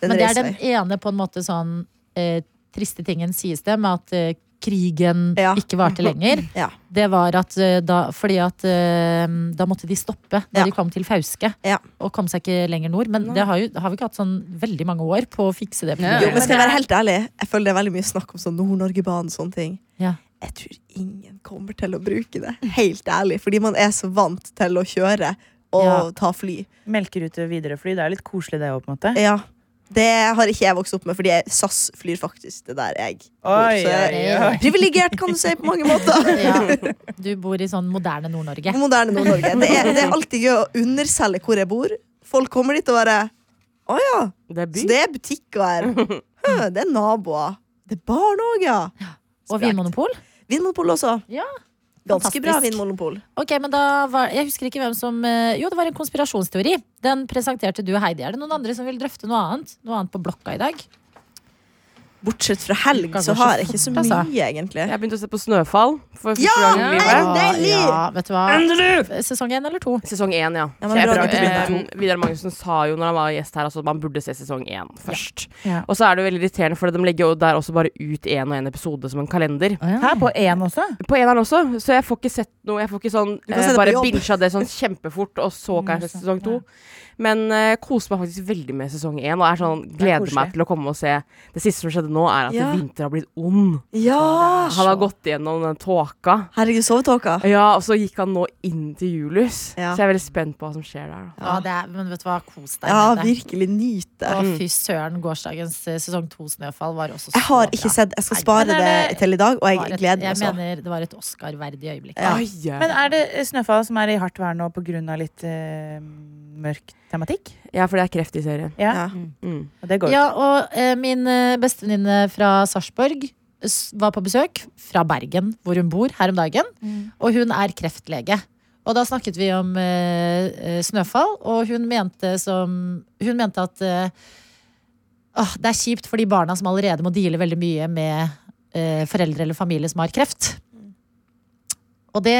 Speaker 4: den
Speaker 2: Men det er
Speaker 4: reiser
Speaker 2: den
Speaker 4: jeg.
Speaker 2: ene på en måte sånn eh, triste tingen sies det, med at eh, krigen
Speaker 4: Ja.
Speaker 2: ikke varte lenger.
Speaker 4: Ja.
Speaker 2: Det var at eh, da Fordi at eh, da måtte de stoppe da
Speaker 4: Ja.
Speaker 2: de kom til Fauske.
Speaker 4: Ja.
Speaker 2: Og kom seg ikke lenger nord. Men det har, jo, har vi ikke hatt sånn veldig mange år på å fikse det.
Speaker 4: Jo,
Speaker 5: Ja.
Speaker 2: problemet.
Speaker 4: men skal jeg være helt ærlig, jeg føler det er veldig mye snakk om sånn Nord-Norgebanen og sånne ting.
Speaker 2: Ja.
Speaker 4: Jeg tror ingen kommer til å bruke det, helt ærlig. Fordi man er så vant til å kjøre og
Speaker 2: Ja.
Speaker 4: ta fly.
Speaker 3: Melkerute Widerøe-fly. Det er litt koselig, det òg, på en måte.
Speaker 4: Ja. Det har ikke jeg vokst opp med, fordi jeg- SAS flyr faktisk det der jeg bor.
Speaker 3: Oi,
Speaker 4: Så jeg
Speaker 3: oi, oi.
Speaker 4: er privilegert, kan du si, på mange måter.
Speaker 2: Ja. Du bor i sånn moderne Nord-Norge.
Speaker 4: Moderne Nord-Norge. Det, er- det er alltid gøy å underselge hvor jeg bor. Folk kommer dit og bare Å ja,
Speaker 6: Det er by.
Speaker 4: så det er butikker her. Hø, det er naboer. Det er barn òg, ja.
Speaker 2: Og Vinmonopol.
Speaker 4: Vinmonopol også.
Speaker 2: Ja,
Speaker 4: Ganske bra
Speaker 2: fantastisk.
Speaker 4: vinmonopol.
Speaker 2: Ok, men da var, Jeg husker ikke hvem som eh, Jo, det var en konspirasjonsteori. Den presenterte du, Heidi. Er det noen andre som vil drøfte noe annet? Noe annet på blokka i dag?
Speaker 4: Bortsett fra helg,
Speaker 2: Kan
Speaker 4: så
Speaker 2: kanskje
Speaker 4: har jeg ikke så
Speaker 2: fort, altså.
Speaker 4: mye, egentlig.
Speaker 6: Jeg begynte å se på Snøfall for første
Speaker 4: Ja!
Speaker 6: gang i livet.
Speaker 4: Ja, deilig!
Speaker 2: Ja, vet du hva? Sesong én eller to?
Speaker 6: Sesong én, ja.
Speaker 4: Ja, men
Speaker 6: Så
Speaker 4: bra
Speaker 6: jeg,
Speaker 4: at du begynte.
Speaker 6: eh, Vidar Magnussen sa jo når han var gjest her altså, at man burde se sesong én først.
Speaker 3: Ja.
Speaker 6: Og så er det jo veldig irriterende, for de legger jo der også bare ut én og én episode som en kalender.
Speaker 3: Her på én også?
Speaker 6: På eneren også, så jeg får ikke sett noe. Jeg får ikke sånn
Speaker 4: kan se
Speaker 6: eh,
Speaker 4: det på
Speaker 6: Bare
Speaker 4: jobb. Mm,
Speaker 6: bincha det sånn kjempefort, og så kanskje sesong to. Men eh, jeg koser meg faktisk veldig med sesong én, og er sånn,
Speaker 3: er
Speaker 6: gleder
Speaker 3: koselig.
Speaker 6: meg til å komme og se. Det siste som skjedde nå, er at
Speaker 4: Ja.
Speaker 6: Vinter har blitt ond.
Speaker 4: Ja!
Speaker 6: Han har gått gjennom den tåka.
Speaker 4: Herregud, sovetåka.
Speaker 6: Ja, og så gikk han nå inn til Julius.
Speaker 4: Ja.
Speaker 6: Så jeg er veldig spent på hva som skjer der. Da.
Speaker 2: Ja, det er, men vet du hva? Kos deg
Speaker 4: Ja,
Speaker 2: med det.
Speaker 4: virkelig nyt det.
Speaker 2: Å, fy søren. Gårsdagens eh, sesong to Snøfall var også så
Speaker 4: Jeg har ikke
Speaker 2: bra.
Speaker 4: sett Jeg skal
Speaker 2: Nei,
Speaker 4: spare
Speaker 3: men er
Speaker 4: det
Speaker 3: det-
Speaker 4: til i dag, og
Speaker 2: Var
Speaker 4: jeg
Speaker 2: et-
Speaker 4: gleder meg
Speaker 2: Jeg
Speaker 4: sånn.
Speaker 2: mener det var et Oscar-verdig øyeblikk.
Speaker 4: Ja.
Speaker 6: Ai, eh.
Speaker 3: Men er det Snøfall som er i hardt vær nå pga. litt eh, mørk tematikk.
Speaker 6: Ja, for det er kreft i serien.
Speaker 3: Ja,
Speaker 4: Ja.
Speaker 6: Mm.
Speaker 3: og det går jo
Speaker 2: Ja, og eh, min eh, bestevenninne fra Sarpsborg s- var på besøk fra Bergen, hvor hun bor, her om dagen.
Speaker 3: Mm.
Speaker 2: Og hun er kreftlege. Og da snakket vi om eh, eh, Snøfall, og hun mente, som, hun mente at eh, åh, det er kjipt for de barna som allerede må deale veldig mye med eh, foreldre eller familie som har kreft. Og det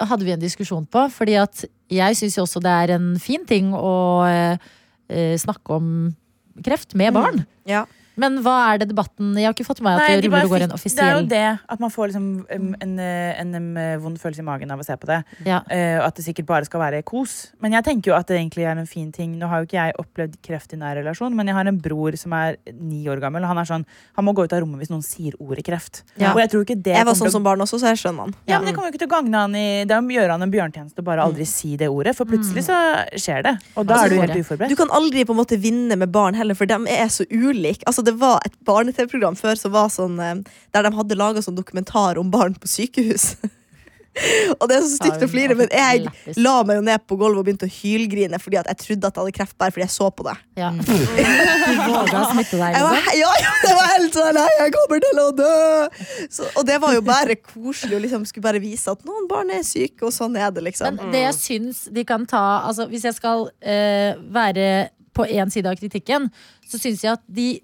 Speaker 2: hadde vi en diskusjon på, fordi at jeg syns jo også det er en fin ting å eh, eh, snakke om kreft med
Speaker 3: Mm.
Speaker 2: barn.
Speaker 4: Ja.
Speaker 2: Men hva er det debatten Jeg har ikke fått med meg at
Speaker 3: de
Speaker 2: det
Speaker 3: bare
Speaker 2: ruller og går en
Speaker 3: fikk- Det er jo
Speaker 2: offisiell
Speaker 3: det at man får liksom em, en, eh, en, em, eh, vond følelse i magen av å se på det.
Speaker 2: ja.
Speaker 3: Eh, og at det sikkert bare skal være kos. Men jeg tenker jo at det egentlig er en fin ting. Nå har jo ikke jeg opplevd kreft i nær relasjon, men jeg har en bror som er ni år gammel. Han er sånn, han må gå ut av rommet hvis noen sier ordet kreft.
Speaker 4: Ja.
Speaker 3: Og jeg tror ikke det
Speaker 4: Jeg
Speaker 3: kommer
Speaker 4: var sånn
Speaker 3: til å-
Speaker 4: som barn også, så jeg skjønner han.
Speaker 3: ja, men det kommer jo ikke til å gagne han i Det er å gjøre han en bjørntjeneste å bare aldri si det ordet. For plutselig så skjer det. Mm. Og da
Speaker 2: Altså,
Speaker 3: er du
Speaker 2: ordet.
Speaker 3: helt
Speaker 4: Du
Speaker 3: uforberedt.
Speaker 4: kan aldri på en måte vinne med barn heller, for de er så ulike. Altså, det var et barne-TV-program før som var sånn, eh, der de hadde laga sånn dokumentar om barn på sykehus. og det er så stygt å flire, men jeg la meg jo ned på gulvet og begynte å hylgrine fordi at jeg trodde at jeg hadde kreft bare fordi jeg så på det.
Speaker 2: ja.
Speaker 3: Mm.
Speaker 2: Du våga å smitte deg,
Speaker 4: Jeg var,
Speaker 2: liksom?
Speaker 4: he- ja, ja, det var helt sånn Nei, jeg kommer til å dø! Så, og det var jo bare koselig å liksom skulle bare vise at noen barn er syke, og sånn er det, liksom.
Speaker 2: Men det jeg syns de kan ta altså, Hvis jeg skal eh, være på én side av kritikken, så syns jeg at de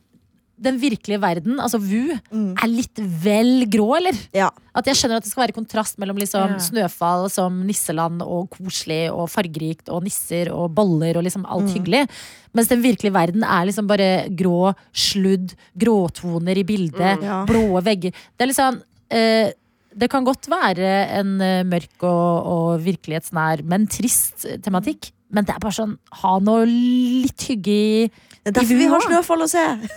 Speaker 2: den virkelige verden, altså VU,
Speaker 3: Mm.
Speaker 2: er litt vel grå, eller?
Speaker 4: Ja.
Speaker 2: At jeg skjønner at det skal være kontrast mellom liksom
Speaker 3: Ja.
Speaker 2: snøfall som nisseland og koselig og fargerikt og nisser og boller og liksom alt hyggelig. Mens den virkelige verden er liksom bare grå sludd, gråtoner i bildet,
Speaker 4: Ja.
Speaker 2: blå vegger. Det er liksom eh, det kan godt være en eh, mørk og, og virkelighetsnær, men trist tematikk. Men det er bare sånn, ha noe litt hygge i
Speaker 4: Det er derfor vi har
Speaker 2: Ja.
Speaker 4: snøfall å se.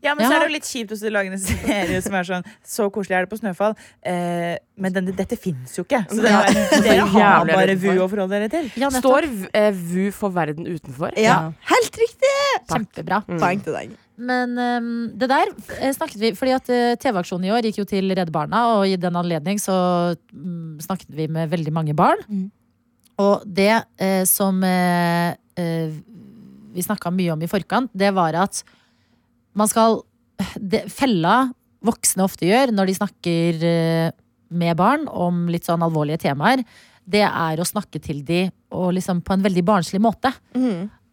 Speaker 3: Ja, men så
Speaker 2: Ja.
Speaker 3: er det jo litt kjipt å lage en serie som er sånn Så koselig er det på Snøfall. Eh, men denne, dette fins jo ikke. Så det
Speaker 4: Ja.
Speaker 3: er, dere har
Speaker 6: Jævlig
Speaker 3: bare
Speaker 6: redd
Speaker 3: VU
Speaker 6: for.
Speaker 3: å forholde dere til.
Speaker 2: Ja, nettopp.
Speaker 6: Står eh, VU for verden utenfor?
Speaker 4: Ja, Mm. helt riktig
Speaker 2: Kjempebra.
Speaker 4: poeng til deg.
Speaker 2: Men ehm, det der eh, snakket vi Fordi at eh, TV-aksjonen i år gikk jo til Redde Barna, og i den anledning så mm, snakket vi med veldig mange barn. Og det eh, som eh, eh, vi snakka mye om i forkant, det var at man skal det, Fella voksne ofte gjør når de snakker eh, med barn om litt sånn alvorlige temaer, det er å snakke til de og liksom på en veldig barnslig måte.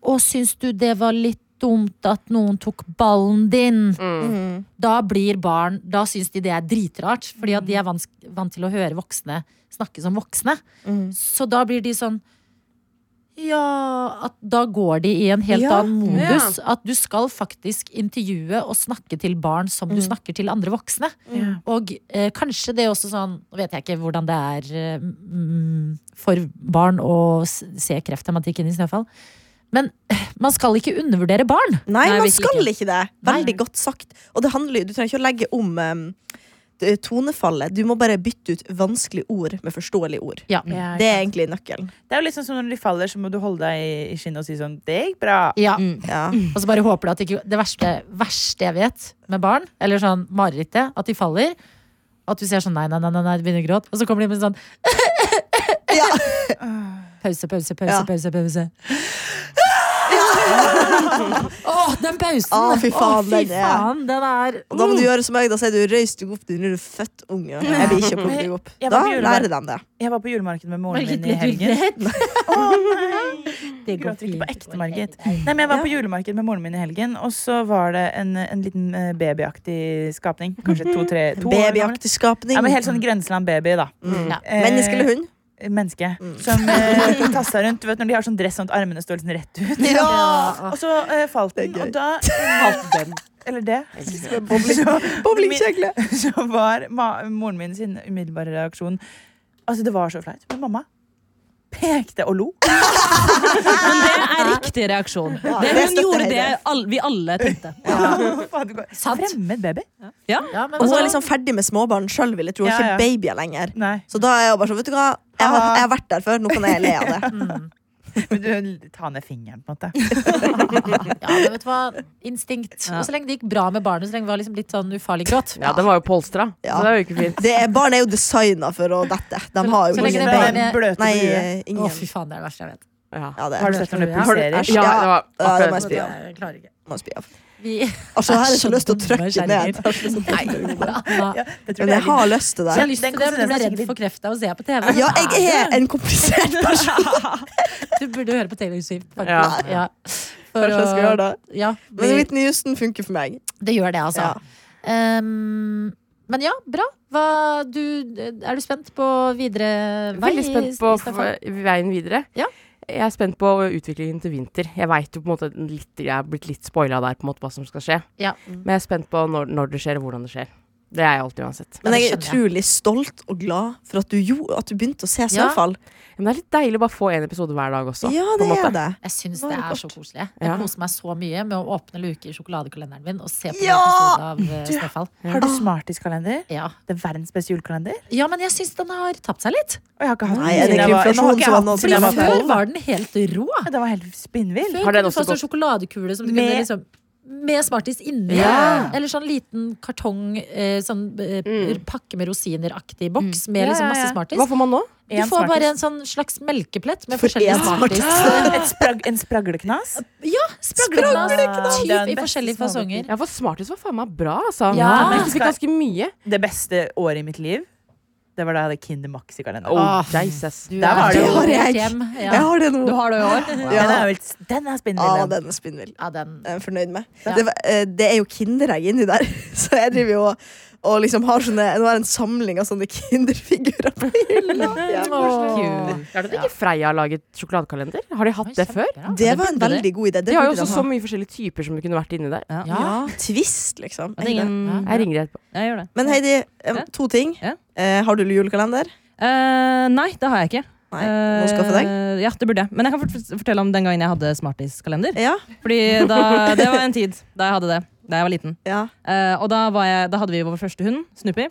Speaker 2: Og syns du det var litt dumt at noen tok ballen din? Da blir barn Da syns de det er dritrart, fordi at de er vans vant til å høre voksne snakke som voksne. Så da blir de sånn ja, at da går de i en helt
Speaker 6: Ja.
Speaker 2: annen modus. At du skal faktisk intervjue og snakke til barn som du snakker til andre voksne. Og eh, kanskje det er også sånn Nå vet jeg ikke hvordan det er eh, mm, for barn å s- se krefttematikken i Snøfall. Men eh, man skal ikke undervurdere barn.
Speaker 4: Nei,
Speaker 2: Nei,
Speaker 4: man
Speaker 2: virkelig
Speaker 4: skal ikke det.
Speaker 2: Nei.
Speaker 4: Veldig godt sagt. Og det handler, jo- du trenger ikke å legge om em, t- tonefallet. Du må bare bytte ut vanskelige ord med forståelige ord.
Speaker 2: Ja.
Speaker 3: Ja,
Speaker 4: Det er egentlig nøkkelen.
Speaker 3: Det er jo liksom som når de faller, så må du holde deg i- i skinnet og si sånn Det gikk bra.
Speaker 2: Ja.
Speaker 4: Ja.
Speaker 2: Og så bare håper du at det ikke Det verste, verste jeg vet med barn, eller sånn marerittet, at de faller. At du ser sånn nei, nei, nei, nei, nei, de begynner å gråte. Og så kommer de med sånn
Speaker 4: Ja.
Speaker 2: Pause, pause, pause,
Speaker 4: Ja.
Speaker 2: pause. pause. Å, den pausen!
Speaker 4: Å, fy
Speaker 2: Å,
Speaker 4: faen,
Speaker 2: fy
Speaker 4: den er-
Speaker 2: faen, den er
Speaker 4: Og da må du gjøre som jeg, da sier du røys deg opp, din lille født unge. Jeg vil ikke plukke deg opp.
Speaker 3: Jeg
Speaker 4: Da
Speaker 3: var på
Speaker 4: lærer de det.
Speaker 3: Jeg var på julemarkedet med moren
Speaker 2: Margit,
Speaker 3: min i
Speaker 2: ble du
Speaker 3: helgen.
Speaker 2: redd? Det går
Speaker 3: Gråter ikke på
Speaker 2: fint.
Speaker 3: ekte, Margit. Nei, men Jeg var på julemarked med moren min i helgen, og så var det en, en liten eh, babyaktig skapning. Kanskje to-tre to år gammel.
Speaker 4: Babyaktig skapning.
Speaker 3: Ja, men helt sånn Grenseland-baby, da.
Speaker 2: Ja.
Speaker 3: Eh,
Speaker 4: Menneske eller hund?
Speaker 3: Menneske. Som eh, tassa rundt. Du vet når de har sånn dress sånn at armene står sånn rett ut.
Speaker 4: Ja!
Speaker 3: Og så eh, falt
Speaker 4: Det er
Speaker 3: den,
Speaker 4: gøy.
Speaker 3: og da Falt den. Eller det. Så-
Speaker 4: Bowlingkjegle.
Speaker 3: så var ma moren min sin umiddelbare reaksjon Altså, det var så flaut. Men mamma pekte og lo.
Speaker 5: Men det er riktig reaksjon.
Speaker 4: det
Speaker 5: det hun
Speaker 4: støtter
Speaker 5: gjorde
Speaker 4: jeg
Speaker 5: det
Speaker 4: deg.
Speaker 5: all, vi alle tenkte.
Speaker 3: Faen, det går-
Speaker 2: Sant.
Speaker 3: Fremmed baby.
Speaker 5: Ja.
Speaker 2: Ja, men
Speaker 4: Og hun
Speaker 2: så-
Speaker 4: er liksom ferdig med småbarn sjøl, vil jeg tro. og
Speaker 3: Ja, ja.
Speaker 4: Ikke babyer lenger.
Speaker 3: Nei.
Speaker 4: Så da er jeg jo bare sånn, vet du hva, jeg har, jeg har vært der før, nå kan jeg le av det.
Speaker 3: Men du, ta ned fingeren, på en måte.
Speaker 2: Ja, men vet du hva? Instinkt.
Speaker 5: Ja.
Speaker 2: Og så lenge det gikk bra med barnet, så lenge det var liksom litt sånn ufarlig gråt.
Speaker 6: Ja, den var jo polstra,
Speaker 4: Ja.
Speaker 6: så det er jo ikke fint.
Speaker 4: det er, barn er jo designa for å dette. De har
Speaker 2: Så
Speaker 4: jo
Speaker 2: lenge det
Speaker 4: ikke
Speaker 3: Fra
Speaker 2: bare-
Speaker 4: bein.
Speaker 3: den bløte
Speaker 4: Nei,
Speaker 3: på huet.
Speaker 4: eh,
Speaker 2: Å,
Speaker 4: ingen.
Speaker 2: fy faen, det er det verste jeg vet.
Speaker 6: Ja.
Speaker 4: Ja, det
Speaker 3: Har
Speaker 4: er
Speaker 3: du sett noen
Speaker 2: Har
Speaker 4: du-
Speaker 3: episodier?
Speaker 4: Æsj,
Speaker 6: Ja, det var
Speaker 4: Ja, det må
Speaker 6: akkurat
Speaker 4: jeg spy av.
Speaker 2: Jeg klarer ikke.
Speaker 4: Må jeg spy av.
Speaker 2: Vi
Speaker 4: Altså, jeg har
Speaker 2: så
Speaker 4: ikke lyst til å
Speaker 2: dumme
Speaker 4: trykke ned.
Speaker 2: kjerringer.
Speaker 4: Jeg har ikke lyst til å trykke
Speaker 2: Anna,
Speaker 3: Jeg
Speaker 4: ned.
Speaker 3: tror
Speaker 4: Men
Speaker 3: det
Speaker 4: jeg
Speaker 3: er litt-
Speaker 4: har lyst til
Speaker 2: jeg har
Speaker 4: det.
Speaker 2: lyst til det, men du blir redd for kreft av å se på TV.
Speaker 4: Ja, jeg er en komplisert person.
Speaker 2: Du burde høre på Taylor Swift,
Speaker 6: Ja.
Speaker 2: faktisk. Ja. For
Speaker 4: Kanskje jeg skal
Speaker 2: å-
Speaker 4: gjøre det.
Speaker 2: Ja,
Speaker 4: Men
Speaker 2: vi,
Speaker 4: Whitney Houston funker for meg.
Speaker 2: det gjør det, altså.
Speaker 4: Ja.
Speaker 2: Ehm, men ja, bra. Hva, du, er du spent på videre vei?
Speaker 6: Veldig
Speaker 2: i- i
Speaker 6: spent på
Speaker 2: Stockholm?
Speaker 6: f- veien videre.
Speaker 2: Ja.
Speaker 6: Jeg er spent på utviklingen til vinter. Jeg vet jo på en måte litt, jeg er blitt litt spoila der på en måte hva som skal skje.
Speaker 2: Ja.
Speaker 6: Men jeg er spent på når, når det skjer, og hvordan det skjer. Det er jeg alltid uansett.
Speaker 4: Men
Speaker 2: Ja, det
Speaker 4: jeg er
Speaker 2: skjønner
Speaker 4: utrolig stolt og glad for at du, gjorde- at du begynte å se
Speaker 2: Ja.
Speaker 4: snøfall.
Speaker 6: Men det er litt deilig å bare få én episode hver dag også.
Speaker 4: Ja,
Speaker 6: på
Speaker 4: det
Speaker 6: en måte.
Speaker 4: er det.
Speaker 2: Jeg syns
Speaker 6: Nå
Speaker 2: det
Speaker 6: er det
Speaker 2: er
Speaker 6: kort.
Speaker 2: så koselig. Jeg
Speaker 6: Ja.
Speaker 2: koser meg så mye med å åpne luke i sjokoladekalenderen min og se på
Speaker 4: Ja!
Speaker 2: en episode av eh, Snøfall.
Speaker 3: Har du Smarties-kalender?
Speaker 2: Ja.
Speaker 3: Det er verdens beste julekalender.
Speaker 2: ja, men jeg syns den har tapt seg litt.
Speaker 3: Og jeg har ikke hatt
Speaker 4: Nei,
Speaker 3: den
Speaker 4: er
Speaker 3: siden
Speaker 4: det
Speaker 3: jeg var-
Speaker 4: ikke
Speaker 3: Nå har
Speaker 4: inflasjon
Speaker 3: ikke
Speaker 4: som
Speaker 3: jeg
Speaker 4: var
Speaker 3: hatt
Speaker 4: nå
Speaker 3: den
Speaker 4: til
Speaker 3: siden jeg
Speaker 4: den
Speaker 3: var
Speaker 4: var
Speaker 2: Før
Speaker 3: tolv.
Speaker 2: var den helt rå.
Speaker 3: Ja, Den var helt spinnvill.
Speaker 2: Før
Speaker 6: Har
Speaker 2: kunne
Speaker 6: den
Speaker 2: du
Speaker 6: også
Speaker 2: få sånn
Speaker 6: gått-
Speaker 2: sjokoladekule som du
Speaker 3: Med-
Speaker 2: kunne liksom med Smarties inni.
Speaker 6: Ja.
Speaker 2: Eller sånn liten kartong, eh, sånn eh,
Speaker 6: Mm.
Speaker 2: pakke med rosiner-aktig boks med
Speaker 3: Ja,
Speaker 2: liksom
Speaker 3: ja,
Speaker 2: masse
Speaker 3: ja.
Speaker 2: Smarties.
Speaker 6: Hva får man nå?
Speaker 2: Du
Speaker 3: En
Speaker 2: får
Speaker 3: Smarties.
Speaker 2: bare en sånn slags melkeplett med
Speaker 4: For
Speaker 2: forskjellige
Speaker 4: én
Speaker 2: Smarties.
Speaker 3: Et sprag, en spragleknas?
Speaker 2: Spragleknas,
Speaker 3: Spragleknas. Det er
Speaker 2: typ
Speaker 3: den
Speaker 2: i forskjellige
Speaker 3: beste smaken.
Speaker 2: fasonger.
Speaker 6: Ja, for Smarties var faen meg bra, altså.
Speaker 2: Ja.
Speaker 6: Jeg fikk ganske mye.
Speaker 3: Det beste året i mitt liv, det var da jeg hadde Kinder Max i kalenderen.
Speaker 6: Oh,
Speaker 2: Ah.
Speaker 6: Jesus.
Speaker 2: Du
Speaker 3: Der var
Speaker 2: er
Speaker 3: det jo.
Speaker 2: jo
Speaker 4: Det har jeg.
Speaker 2: hjem.
Speaker 4: Jeg
Speaker 2: Ja.
Speaker 4: har det nå.
Speaker 2: har det i år?
Speaker 3: Den er,
Speaker 4: Ja.
Speaker 3: jo helt- den er spinnvill.
Speaker 4: Ja,
Speaker 3: den.
Speaker 4: den er spinnvill.
Speaker 2: Ja, den
Speaker 4: Jeg er fornøyd med.
Speaker 2: Ja.
Speaker 4: Det, var- eh, det er jo Kinderegg inni der, så jeg driver jo og, og liksom har sånne Nå har jeg en samling av sånne Kinderfigurer på hylla. Ja.
Speaker 2: Åh.
Speaker 6: Er det ikke Freia har laget sjokoladekalender? Har de hatt det før?
Speaker 2: Kjempebra.
Speaker 4: Det var en veldig god idé. Det
Speaker 6: De har jo
Speaker 4: burde
Speaker 6: også
Speaker 4: de
Speaker 6: så mye forskjellige typer som kunne vært inni der.
Speaker 2: Ja.
Speaker 4: ha. Twist, liksom.
Speaker 5: Det er ingen...
Speaker 6: Jeg ringer etterpå.
Speaker 5: Jeg gjør det.
Speaker 4: Men Heidi, eh,
Speaker 5: Ja.
Speaker 4: to ting.
Speaker 5: Ja.
Speaker 4: Eh, har du julekalender?
Speaker 5: Eh, nei, det har jeg ikke.
Speaker 4: Nei, må du skaffe deg.
Speaker 5: Eh, ja, det burde jeg. Men jeg kan fort- fortelle om den gangen jeg hadde Smarties-kalender.
Speaker 4: Ja,
Speaker 5: Fordi da, Det var en tid da jeg hadde det, da jeg var liten.
Speaker 4: ja.
Speaker 5: Eh, og da, var jeg, da hadde vi vår første hund, Snoopy.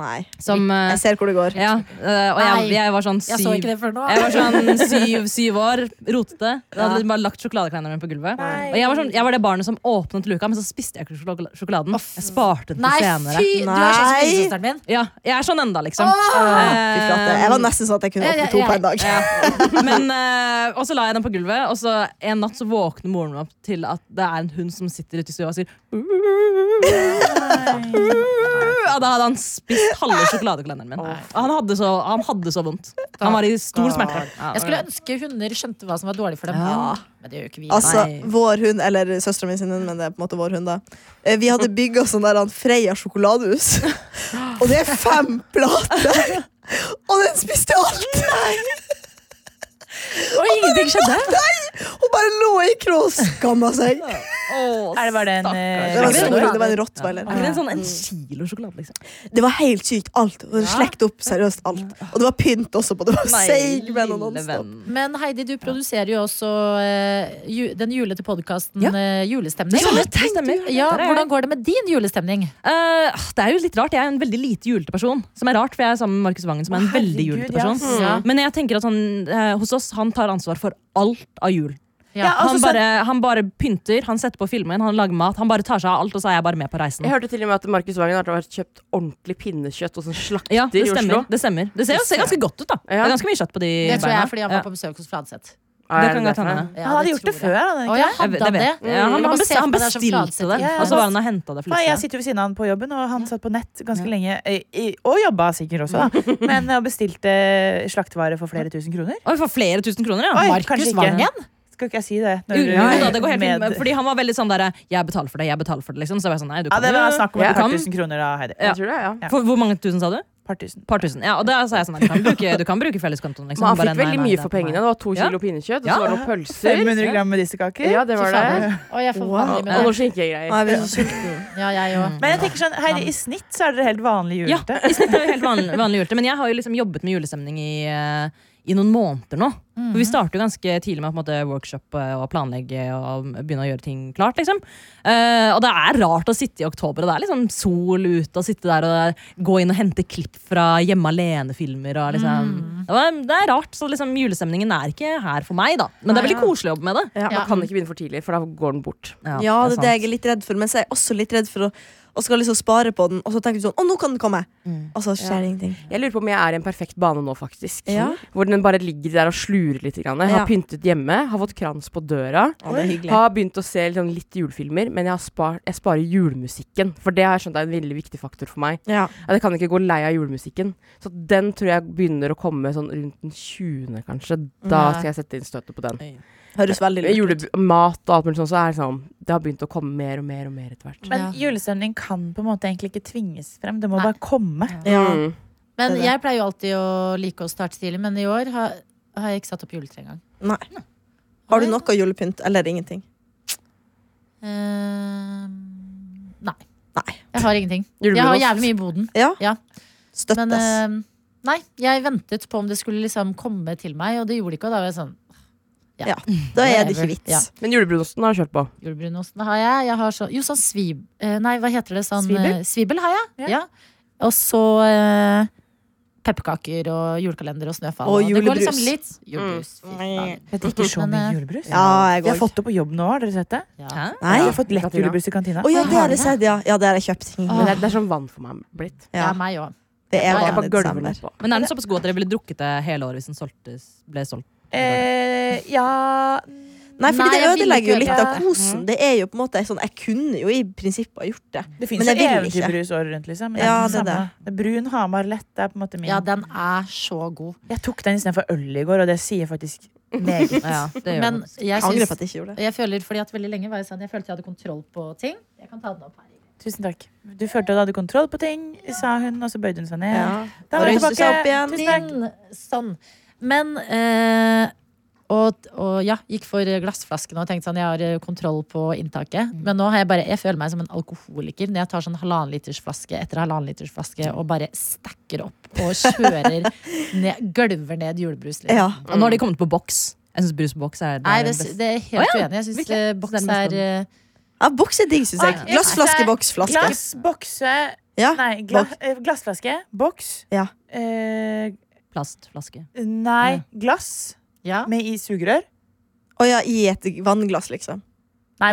Speaker 4: Nei.
Speaker 5: Som, eh,
Speaker 4: Jeg ser hvor det går.
Speaker 5: ja, eh, og jeg,
Speaker 2: Nei.
Speaker 5: jeg var sånn
Speaker 2: Jeg så
Speaker 5: syv
Speaker 2: ikke det før nå.
Speaker 5: jeg var sånn syv, syv år, rotete. Da hadde de bare lagt sjokoladekleineren min på gulvet. Og jeg var, sånn, jeg var det barnet som åpnet luka, men så spiste jeg ikke sjokol- sjokoladen. Jeg sparte den
Speaker 2: Nei,
Speaker 5: til
Speaker 2: fy!
Speaker 5: senere.
Speaker 2: Du er sånn som
Speaker 4: Nei.
Speaker 2: lillesøsteren min.
Speaker 5: Ja, jeg er sånn enda, liksom.
Speaker 4: Fy flate. Jeg var nesten sånn at jeg kunne
Speaker 2: Ja, ja,
Speaker 4: åpne to
Speaker 2: ja.
Speaker 4: på en dag.
Speaker 5: Men, eh, og så la jeg den på gulvet, og så en natt så våkner moren min opp til at det er en hund som sitter ute i stua og sier Ja, da hadde han spist halve sjokoladekalenderen min. Og han hadde, så, han hadde så vondt. Han var i stor smerte. Ja.
Speaker 2: Jeg skulle ønske hunder skjønte hva som var dårlig for dem.
Speaker 5: Ja.
Speaker 2: Men det gjør jo ikke vi.
Speaker 4: Altså,
Speaker 5: Nei.
Speaker 4: vår hund, eller søstera mi sin hund, men det er på en måte vår hund, da. Eh, Vi hadde bygga sånn der han Freia sjokoladehus. Og det er fem plater! Og den spiste alt!
Speaker 2: Og ingenting skjedde!
Speaker 4: Hun bare lå i krå og skamma seg.
Speaker 3: Er det bare den
Speaker 4: Det var en,
Speaker 3: eh,
Speaker 4: stor,
Speaker 2: sjokolade?
Speaker 4: det var en rottweiler.
Speaker 5: Er ikke det en sånn en kilo sjokolade, liksom?
Speaker 4: Det var helt sykt. Alt. Og det slekte opp seriøst alt. Og det var pynt også på det. var Seig med noen
Speaker 5: lille
Speaker 4: nonstop.
Speaker 5: venn.
Speaker 2: Men Heidi, du produserer jo også eh, ju, den julete podkasten
Speaker 5: Ja.
Speaker 2: Julestemning.
Speaker 5: Ja, tenk du.
Speaker 2: Ja,
Speaker 5: Der er jeg.
Speaker 2: hvordan går det med din julestemning?
Speaker 5: Eh, det er jo litt rart. Jeg er en veldig lite julete person. Som er rart, for jeg er sammen med Markus Vangen, som er en
Speaker 3: Å,
Speaker 5: veldig
Speaker 3: herregud,
Speaker 5: julete person.
Speaker 2: ja. Ja.
Speaker 5: Men jeg tenker at han, eh, hos oss, han tar ansvar for alt av jul.
Speaker 3: Altså,
Speaker 2: Ja,
Speaker 5: han, bare, han bare pynter, han setter på filmen, han lager mat. Han bare tar seg av alt, og så er jeg bare med på reisen.
Speaker 6: Jeg hørte til og med at Markus Wangen har vært kjøpt ordentlig pinnekjøtt og sånn slakter
Speaker 5: Ja, det
Speaker 6: i Oslo.
Speaker 5: stemmer. Det, stemmer. det ser, jo- ser ganske godt ut, da. Det
Speaker 6: Ja.
Speaker 5: er ganske mye kjøtt på de
Speaker 2: Det tror jeg
Speaker 5: beina.
Speaker 2: er fordi han
Speaker 5: Ja.
Speaker 2: var på besøk hos Fladseth.
Speaker 6: Ja,
Speaker 5: Det
Speaker 6: er
Speaker 5: kan godt
Speaker 6: derfor
Speaker 5: hende.
Speaker 6: det?
Speaker 2: Ja,
Speaker 3: Han hadde gjort det
Speaker 2: tror
Speaker 3: før,
Speaker 2: jeg. Å
Speaker 3: hadde han
Speaker 2: ja,
Speaker 3: ikke?
Speaker 5: Jeg
Speaker 2: hadde
Speaker 5: vet- jeg
Speaker 2: han det?
Speaker 5: vet. Ja, han,
Speaker 2: Jeg
Speaker 5: han,
Speaker 2: bare ser
Speaker 5: bestilte,
Speaker 2: på
Speaker 5: han
Speaker 2: det som
Speaker 5: bestilte
Speaker 2: Fladseth.
Speaker 5: det,
Speaker 3: Ja,
Speaker 5: og så
Speaker 3: ja.
Speaker 5: var han og henta det. for
Speaker 3: Nei,
Speaker 5: litt
Speaker 3: jeg
Speaker 5: siden.
Speaker 3: sitter ved siden av han på jobben, og han satt på nett ganske
Speaker 5: Ja.
Speaker 3: lenge. eh, i- Og jobba sikkert også, da. Men eh, bestilte slaktevare for flere tusen kroner.
Speaker 5: Oi, for flere tusen kroner, ja.
Speaker 3: Oi, kanskje
Speaker 2: Markus
Speaker 3: ikke.
Speaker 2: Vangen?
Speaker 3: Skal ikke jeg si det? når
Speaker 5: Jo,
Speaker 3: du-
Speaker 5: jo, da, det går helt fint.
Speaker 3: med-
Speaker 5: men Fordi han var veldig sånn derre 'jeg betaler for det', jeg betaler for det, liksom. Så jeg var sånn, nei, du
Speaker 3: Ja,
Speaker 5: kan
Speaker 3: det var snakk om
Speaker 6: Ja.
Speaker 3: et par
Speaker 5: Du kan-
Speaker 3: tusen kroner, da, Heidi.
Speaker 5: Ja.
Speaker 6: Jeg tror det, ja.
Speaker 3: Ja.
Speaker 5: For hvor mange tusen sa du?
Speaker 3: Par tusen.
Speaker 5: Par tusen. Ja, og da sa jeg sånn, du kan bruke, du kan bruke felleskontoen, liksom.
Speaker 6: Men han
Speaker 5: Bare,
Speaker 6: fikk
Speaker 5: nei,
Speaker 6: veldig
Speaker 5: nei,
Speaker 6: mye
Speaker 5: det er
Speaker 6: for
Speaker 5: på meg.
Speaker 6: pengene. Det var to
Speaker 5: Ja.
Speaker 6: kilo pinnekjøtt, og
Speaker 5: Ja.
Speaker 6: så var det noen pølser.
Speaker 3: 500 gram medisterkaker.
Speaker 6: Ja, det var det.
Speaker 2: Å, jeg får vanlig
Speaker 6: Og
Speaker 2: med det.
Speaker 6: noen
Speaker 4: Nei,
Speaker 6: skinkegreier.
Speaker 4: jeg blir så sulten.
Speaker 2: Ja, jeg òg.
Speaker 3: Men jeg tenker sånn, Heidi, i snitt så er dere helt vanlig
Speaker 5: Ja,
Speaker 3: julete.
Speaker 5: i snitt er det helt vanlig, vanlig julte. Men jeg har jo liksom jobbet med julestemning i, eh, i noen måneder nå. For vi starter jo ganske tidlig med å på en måte, workshop eh, og planlegge og begynne å gjøre ting klart. liksom. Eh, og det er rart å sitte i oktober, og det er liksom sol ute, og sitte der og gå inn og hente klipp fra Hjemme alene-filmer. og liksom, Det, var, det er rart, så liksom, julestemningen er ikke her for meg, da. Men det er veldig koselig å jobbe med det.
Speaker 6: Ja,
Speaker 2: Ja.
Speaker 6: Man kan ikke begynne for tidlig, for da går den bort.
Speaker 4: Ja, det er det jeg
Speaker 5: sant.
Speaker 4: er litt redd for. Men så er jeg også litt redd for å og skal liksom spare på den, og så tenker du sånn Å, nå kan den komme! Og så skjer det ingenting.
Speaker 6: Jeg lurer på om jeg er i en perfekt bane nå, faktisk.
Speaker 4: Ja.
Speaker 6: Hvor den bare ligger der og slurer litt. Grann. Jeg har
Speaker 4: Ja.
Speaker 6: pyntet hjemme, har fått krans på døra.
Speaker 4: Ja, det er hyggelig.
Speaker 6: Har begynt å se liksom, litt julefilmer, men jeg, har spar jeg sparer julemusikken. For det har jeg skjønt er en veldig viktig faktor for meg.
Speaker 4: Ja.
Speaker 6: At Jeg kan ikke gå lei av julemusikken. Så den tror jeg begynner å komme sånn rundt den 20., kanskje. Da
Speaker 2: Nei.
Speaker 6: skal jeg sette inn støtet på den.
Speaker 4: Høres veldig
Speaker 6: Med
Speaker 4: lurt ut.
Speaker 6: Julemat og alt mulig sånn, så er det sånn Det har begynt å komme mer og mer og mer etter hvert.
Speaker 3: Men julestemning kan på en måte egentlig ikke tvinges frem. Det må bare komme.
Speaker 4: Ja.
Speaker 6: Mm.
Speaker 2: Men
Speaker 4: Det er det.
Speaker 2: jeg pleier jo alltid å like å starte tidlig, men i år har, har jeg ikke satt opp juletre engang.
Speaker 4: Nei. Har du noe julepynt, eller ingenting?
Speaker 2: Ehm, nei.
Speaker 4: Nei.
Speaker 2: Jeg har ingenting. Jeg har
Speaker 6: Julebrød.
Speaker 2: jævlig mye i boden.
Speaker 4: Ja.
Speaker 2: Ja.
Speaker 4: Støttes.
Speaker 2: Men ehm, nei, jeg ventet på om det skulle liksom komme til meg, og det gjorde det ikke. Og da var jeg sånn
Speaker 4: da er det ikke
Speaker 2: whatever.
Speaker 4: vits.
Speaker 2: Ja.
Speaker 6: Men julebrunosten har jeg kjørt på.
Speaker 2: Julebrunosten har jeg. jeg har så, jo, sånn svib... eh, Nei, hva heter det? Sånn,
Speaker 3: Svibel?
Speaker 2: eh, Svibel har jeg.
Speaker 3: Ja.
Speaker 2: Ja. Og så eh, pepperkaker og julekalender og snøfall.
Speaker 4: Og
Speaker 2: det går
Speaker 4: julebrus.
Speaker 2: liksom litt julebrus. fy faen.
Speaker 3: Jeg drikker så
Speaker 2: Men,
Speaker 3: mye
Speaker 2: eh,
Speaker 3: julebrus.
Speaker 4: Ja, jeg
Speaker 3: Jeg har
Speaker 4: går.
Speaker 3: fått det på jobb nå, har dere sett det?
Speaker 2: Ja.
Speaker 5: Hæ?
Speaker 4: Nei.
Speaker 3: Jeg
Speaker 4: Å
Speaker 3: har fått lett
Speaker 6: Katina.
Speaker 3: julebrus i kantina.
Speaker 4: ja, det
Speaker 2: Har
Speaker 4: har
Speaker 2: du
Speaker 4: jeg sett, ja. Ja, det har jeg kjøpt.
Speaker 6: Men det er, det er sånn vann for meg blitt.
Speaker 2: Ja,
Speaker 4: Ah. Ja.
Speaker 2: meg òg.
Speaker 4: Det
Speaker 2: Ja,
Speaker 4: er
Speaker 6: Jeg
Speaker 4: vanlig
Speaker 6: bare
Speaker 4: i
Speaker 6: gølver
Speaker 4: desember.
Speaker 6: litt på.
Speaker 5: Men er den såpass god at dere ville drukket det hele året hvis den solgtes, ble solgt?
Speaker 3: Eh, ja
Speaker 4: Nei, fordi
Speaker 2: Nei,
Speaker 4: det
Speaker 2: jeg vil
Speaker 4: ødelegger jo
Speaker 2: ikke
Speaker 4: litt
Speaker 3: gjøre
Speaker 4: av kosen. Det er jo på en måte sånn, Jeg kunne jo i prinsippet ha gjort det.
Speaker 3: Det
Speaker 4: Men
Speaker 3: fins
Speaker 4: jeg vil ikke.
Speaker 3: eventyrbrus året rundt, liksom. Men
Speaker 4: Ja,
Speaker 3: det er
Speaker 4: det er
Speaker 3: samme. Det er Brun Hamar lett det er på en måte min.
Speaker 2: Ja, den er så god.
Speaker 3: Jeg tok den istedenfor øl i går, og det sier faktisk meget.
Speaker 5: Ja, det gjør
Speaker 2: Men
Speaker 5: den.
Speaker 2: jeg
Speaker 4: Jeg angrer
Speaker 2: syns
Speaker 4: på at jeg ikke gjorde det.
Speaker 2: jeg føler, fordi at veldig lenge var jeg sånn Jeg følte jeg hadde kontroll på ting. Jeg kan ta den opp her.
Speaker 3: Tusen takk. Du følte at du hadde kontroll på ting, sa hun, og så bøyde hun seg ned.
Speaker 4: Ja.
Speaker 3: Da var jeg
Speaker 4: Reiste seg
Speaker 3: tilbake.
Speaker 4: opp igjen.
Speaker 3: Tusen takk.
Speaker 2: Din, sånn. Men eh, og, og ja, gikk for glassflaskene og tenkte sånn, jeg har eh, kontroll på inntaket.
Speaker 5: Mm.
Speaker 2: Men nå har jeg bare, jeg føler meg som en alkoholiker når jeg tar sånn halvannen liters flaske etter halvannen liters flaske og bare stacker opp og kjører ned, gølver ned julebrus. liksom.
Speaker 4: Ja.
Speaker 5: Og nå har de kommet på boks. Jeg syns brus på boks er det,
Speaker 2: Nei, det,
Speaker 5: beste.
Speaker 2: det er helt
Speaker 5: Å ja,
Speaker 2: uenig. Jeg syns
Speaker 5: virkelig.
Speaker 2: eh,
Speaker 5: Så det
Speaker 2: boks
Speaker 5: er den
Speaker 2: er
Speaker 5: beste.
Speaker 2: eh,
Speaker 4: ja, boks er digg, syns jeg.
Speaker 3: Å, jeg
Speaker 4: Glass,
Speaker 3: synes
Speaker 4: flaske,
Speaker 3: det-
Speaker 4: boks, flaske.
Speaker 3: Glass, bokse
Speaker 4: Ja.
Speaker 3: Nei, gla eh, glassflaske. Boks.
Speaker 4: Ah, Ja.
Speaker 3: Eh,
Speaker 5: Plastflaske.
Speaker 3: nei, glass
Speaker 2: ja.
Speaker 5: Mm.
Speaker 3: med i sugerør.
Speaker 4: Å ja, i et vannglass, liksom.
Speaker 3: Nei,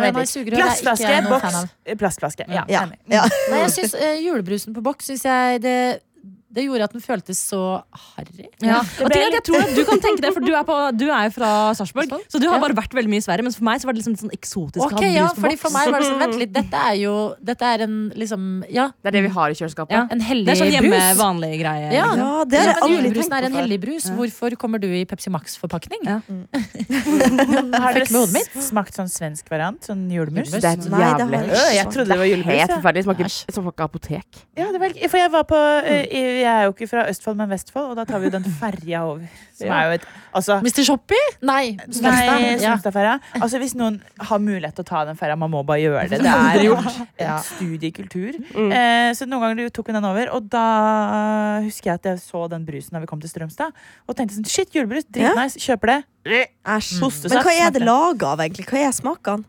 Speaker 2: Nei,
Speaker 3: vent
Speaker 2: nei,
Speaker 3: litt.
Speaker 2: sugerør er ikke
Speaker 3: Glassflaske,
Speaker 2: jeg noe fan
Speaker 3: boks,
Speaker 2: av.
Speaker 3: eh, plastflaske. Ja,
Speaker 4: Ja.
Speaker 3: enig.
Speaker 4: ja.
Speaker 2: Nei, jeg synes, eh, julebrusen på boks synes jeg det, det gjorde at den føltes så harry.
Speaker 5: Ja. Og til
Speaker 3: ble
Speaker 5: at jeg tror at du kan tenke det, for du er, på, du er jo fra Sarpsborg,
Speaker 2: Sarpsborg?
Speaker 5: så du har
Speaker 2: Ja.
Speaker 5: bare vært veldig mye i Sverige. Men for meg så var det liksom sånn eksotisk å
Speaker 2: Ok,
Speaker 5: ha
Speaker 2: ja,
Speaker 5: brus på
Speaker 2: fordi
Speaker 5: boks.
Speaker 2: for meg var det sånn, vent litt, dette er jo Dette er en liksom, ja,
Speaker 6: Det er det vi har i kjøleskapet.
Speaker 5: Ja.
Speaker 2: en hellig
Speaker 5: Det er sånn hjemme,
Speaker 2: brus.
Speaker 5: vanlig greie. liksom.
Speaker 2: Ja.
Speaker 4: ja, det har
Speaker 2: Ja,
Speaker 4: jeg
Speaker 2: men
Speaker 4: aldri
Speaker 2: julebrusen
Speaker 4: tenkt
Speaker 2: er en
Speaker 4: på før.
Speaker 2: hellig brus. Hvorfor kommer du i Pepsi Max-forpakning? Mm.
Speaker 5: Ja.
Speaker 3: Har
Speaker 2: Fikk med hodet
Speaker 3: dere
Speaker 2: mitt.
Speaker 3: smakt sånn svensk variant? Sånn julemus?
Speaker 2: Julemus.
Speaker 6: Det er
Speaker 4: Nei, det har
Speaker 6: jævlig.
Speaker 4: jeg
Speaker 3: Øh, jeg
Speaker 4: smakt.
Speaker 3: trodde det var julemus.
Speaker 6: Helt
Speaker 3: ja.
Speaker 6: forferdelig. Smaker
Speaker 2: Æsj.
Speaker 6: som fucka apotek.
Speaker 3: Ja, det var, ikke- for jeg var på eh, i- Jeg er jo ikke fra Østfold, men Vestfold, og da tar vi jo den ferja over. Som er jo et Altså
Speaker 2: Mr. Shoppy? Nei. Snakstad.
Speaker 3: Nei,
Speaker 2: Ja.
Speaker 3: Sognsdalferja. Altså, hvis noen har mulighet til å ta den ferja, man må bare gjøre det. Det er jo
Speaker 2: Ja.
Speaker 3: et studie i kultur.
Speaker 4: Mm.
Speaker 3: Eh, så noen ganger tok vi den over, og da husker jeg at jeg så den brusen da vi kom til Strømstad, og tenkte sånn Shit, julebrus, dritnice, kjøper det.
Speaker 4: Æsj.
Speaker 2: Mm.
Speaker 3: Hostesaft.
Speaker 4: Mm. Men hva er
Speaker 3: smakte.
Speaker 4: det laga av, egentlig? Hva er smakene?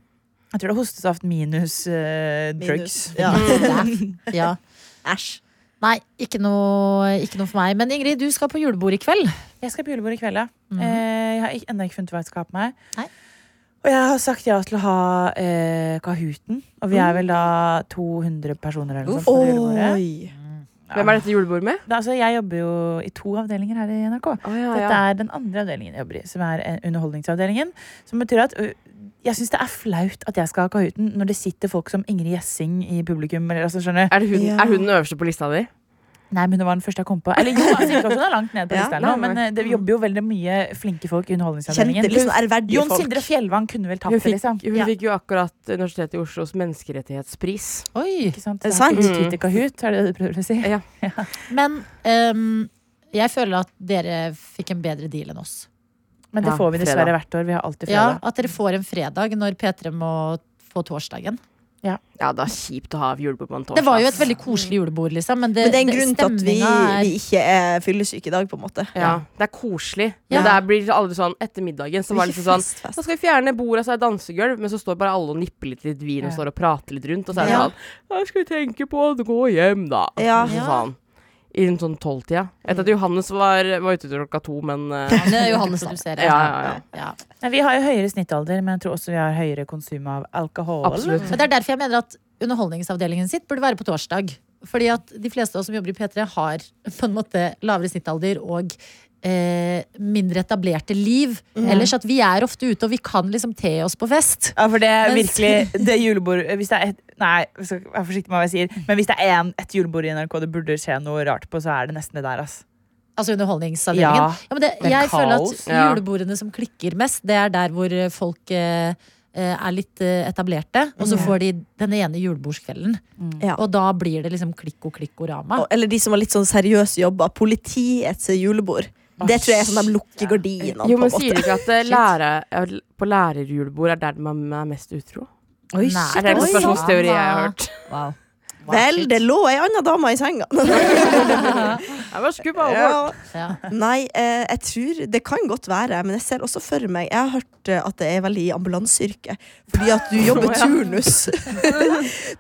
Speaker 3: Jeg tror det er hostesaft minus eh, drugs.
Speaker 4: Minus. Ja.
Speaker 2: ja.
Speaker 4: Æsj.
Speaker 2: Nei, ikke noe, ikke noe for meg. Men Ingrid, du skal på julebord i kveld.
Speaker 3: Jeg skal på julebord i kveld, ja. Eh, jeg har ikke- ennå ikke funnet ut hva jeg skal ha på meg.
Speaker 2: Nei.
Speaker 3: Og jeg har sagt ja til å ha eh, Kahooten, og vi er vel da 200 personer eller noe sånt. på det julebordet.
Speaker 4: Oi.
Speaker 6: Hvem er dette julebord med?
Speaker 3: Da, altså, jeg jobber jo i to avdelinger her i NRK.
Speaker 6: Å, ja,
Speaker 3: Dette
Speaker 6: Ah, ja.
Speaker 3: er den andre avdelingen jeg jobber i, som er eh, underholdningsavdelingen. Som betyr at ø, jeg syns det er flaut at jeg skal ha Kahooten når det sitter folk som Ingrid Gjessing i publikum. Eller, altså, skjønner du?
Speaker 6: Er, det hun,
Speaker 4: Ja.
Speaker 6: er hun den øverste på lista di?
Speaker 3: Nei, men det var den første jeg kom på. Eller jo, altså, jeg sitter også da langt ned på
Speaker 4: Ja,
Speaker 3: lista
Speaker 6: nei,
Speaker 3: nå, men eh, det jobber jo veldig mye flinke folk i
Speaker 4: Kjente
Speaker 3: underholdningsavdelingen.
Speaker 4: litt sånn ærverdige
Speaker 3: Jon Sindre
Speaker 4: folk.
Speaker 3: Fjellvang kunne vel tatt
Speaker 6: Hun
Speaker 3: det,
Speaker 6: fikk,
Speaker 3: liksom.
Speaker 6: hun
Speaker 3: Ja.
Speaker 6: fikk jo akkurat Universitetet i Oslos menneskerettighetspris.
Speaker 2: Oi.
Speaker 3: Ikke sant?
Speaker 4: Er det
Speaker 3: Så har ikke
Speaker 6: sant?
Speaker 3: vi tid til Kahoot, er det det du prøver å si?
Speaker 6: Ja.
Speaker 2: Men ehm, jeg føler at dere fikk en bedre deal enn oss.
Speaker 3: Men det
Speaker 6: Ja,
Speaker 3: får vi dessverre
Speaker 6: fredag.
Speaker 3: hvert år. Vi har alltid
Speaker 2: Ja,
Speaker 3: fredag.
Speaker 2: At dere får en fredag når P3 må få torsdagen.
Speaker 6: Ja, det er kjipt å ha julebord på en torsdag.
Speaker 2: Det var jo et veldig koselig julebord, liksom. Men det,
Speaker 4: Mm. Men det er en grunn til at vi,
Speaker 2: stemninga er-
Speaker 4: vi ikke er fyllesyke i dag, på en måte.
Speaker 6: ja. Det er koselig.
Speaker 2: Ja.
Speaker 6: Men det er- blir aldri sånn etter middagen. Så var det
Speaker 4: Ikke
Speaker 6: liksom sånn
Speaker 4: fest, fest.
Speaker 6: så skal vi fjerne bordet, så er det dansegulv, men så står bare alle og nipper litt, litt vin og
Speaker 3: Ja.
Speaker 6: står og prater litt rundt. Og så er det
Speaker 2: Ja.
Speaker 6: sånn Hva skal vi tenke på? Gå hjem, da.
Speaker 4: Ja.
Speaker 6: Og så
Speaker 2: Ja.
Speaker 6: sa han i en sånn tolvtida. Jeg vet at Johannes var, var ute til klokka to, men eh,
Speaker 5: Nei, Johannes da.
Speaker 2: Produserer.
Speaker 6: Ja, ja, ja.
Speaker 2: Ja.
Speaker 3: Nei, vi har jo høyere snittalder, men jeg tror også vi har høyere konsum av alkohol.
Speaker 6: absolutt.
Speaker 2: Men det er derfor jeg mener at underholdningsavdelingen sitt burde være på torsdag. Fordi at de fleste av oss som jobber i P3 har på en måte lavere snittalder og eh, mindre etablerte liv.
Speaker 4: Mm.
Speaker 2: Ellers at vi er ofte ute og vi kan liksom te oss på fest.
Speaker 3: Ja, for det er
Speaker 2: Mens-
Speaker 3: virkelig Det julebordet Hvis det er et Nei, jeg skal være forsiktig med hva jeg sier, men hvis det er en, et julebord i NRK det burde skje noe rart på, så er det nesten det der, ass.
Speaker 2: Altså underholdningsavdelingen.
Speaker 3: Ja,
Speaker 2: Ja, men det,
Speaker 3: men
Speaker 2: jeg føler at
Speaker 3: kaos,
Speaker 6: ja.
Speaker 2: julebordene som klikker mest, det er der hvor eh, folk eh, eh, er litt eh, etablerte. Og så får de den ene julebordskvelden.
Speaker 4: Ja.
Speaker 2: Og da blir det liksom klikko-klikkorama.
Speaker 4: Og- Eller de som har litt sånn seriøse jobber. Politiets julebord. Det tror jeg er sånn de lukker gardinene
Speaker 6: Jo,
Speaker 4: på.
Speaker 6: men
Speaker 4: en måte.
Speaker 6: sier de ikke at eh, lære, ja, l- på lærerjulebord er der man er mest utro?
Speaker 2: Oi,
Speaker 6: Er det en konspirasjonsteori jeg har hørt?
Speaker 5: Wow.
Speaker 4: Vel, det lå ei anna dame i senga.
Speaker 6: Jeg var skru på alvor.
Speaker 4: Ja.
Speaker 2: Ja.
Speaker 4: Nei, eh, jeg tror Det kan godt være, men jeg ser også for meg Jeg har hørt eh, at det er veldig i ambulanseyrket. Fordi at du jobber turnus.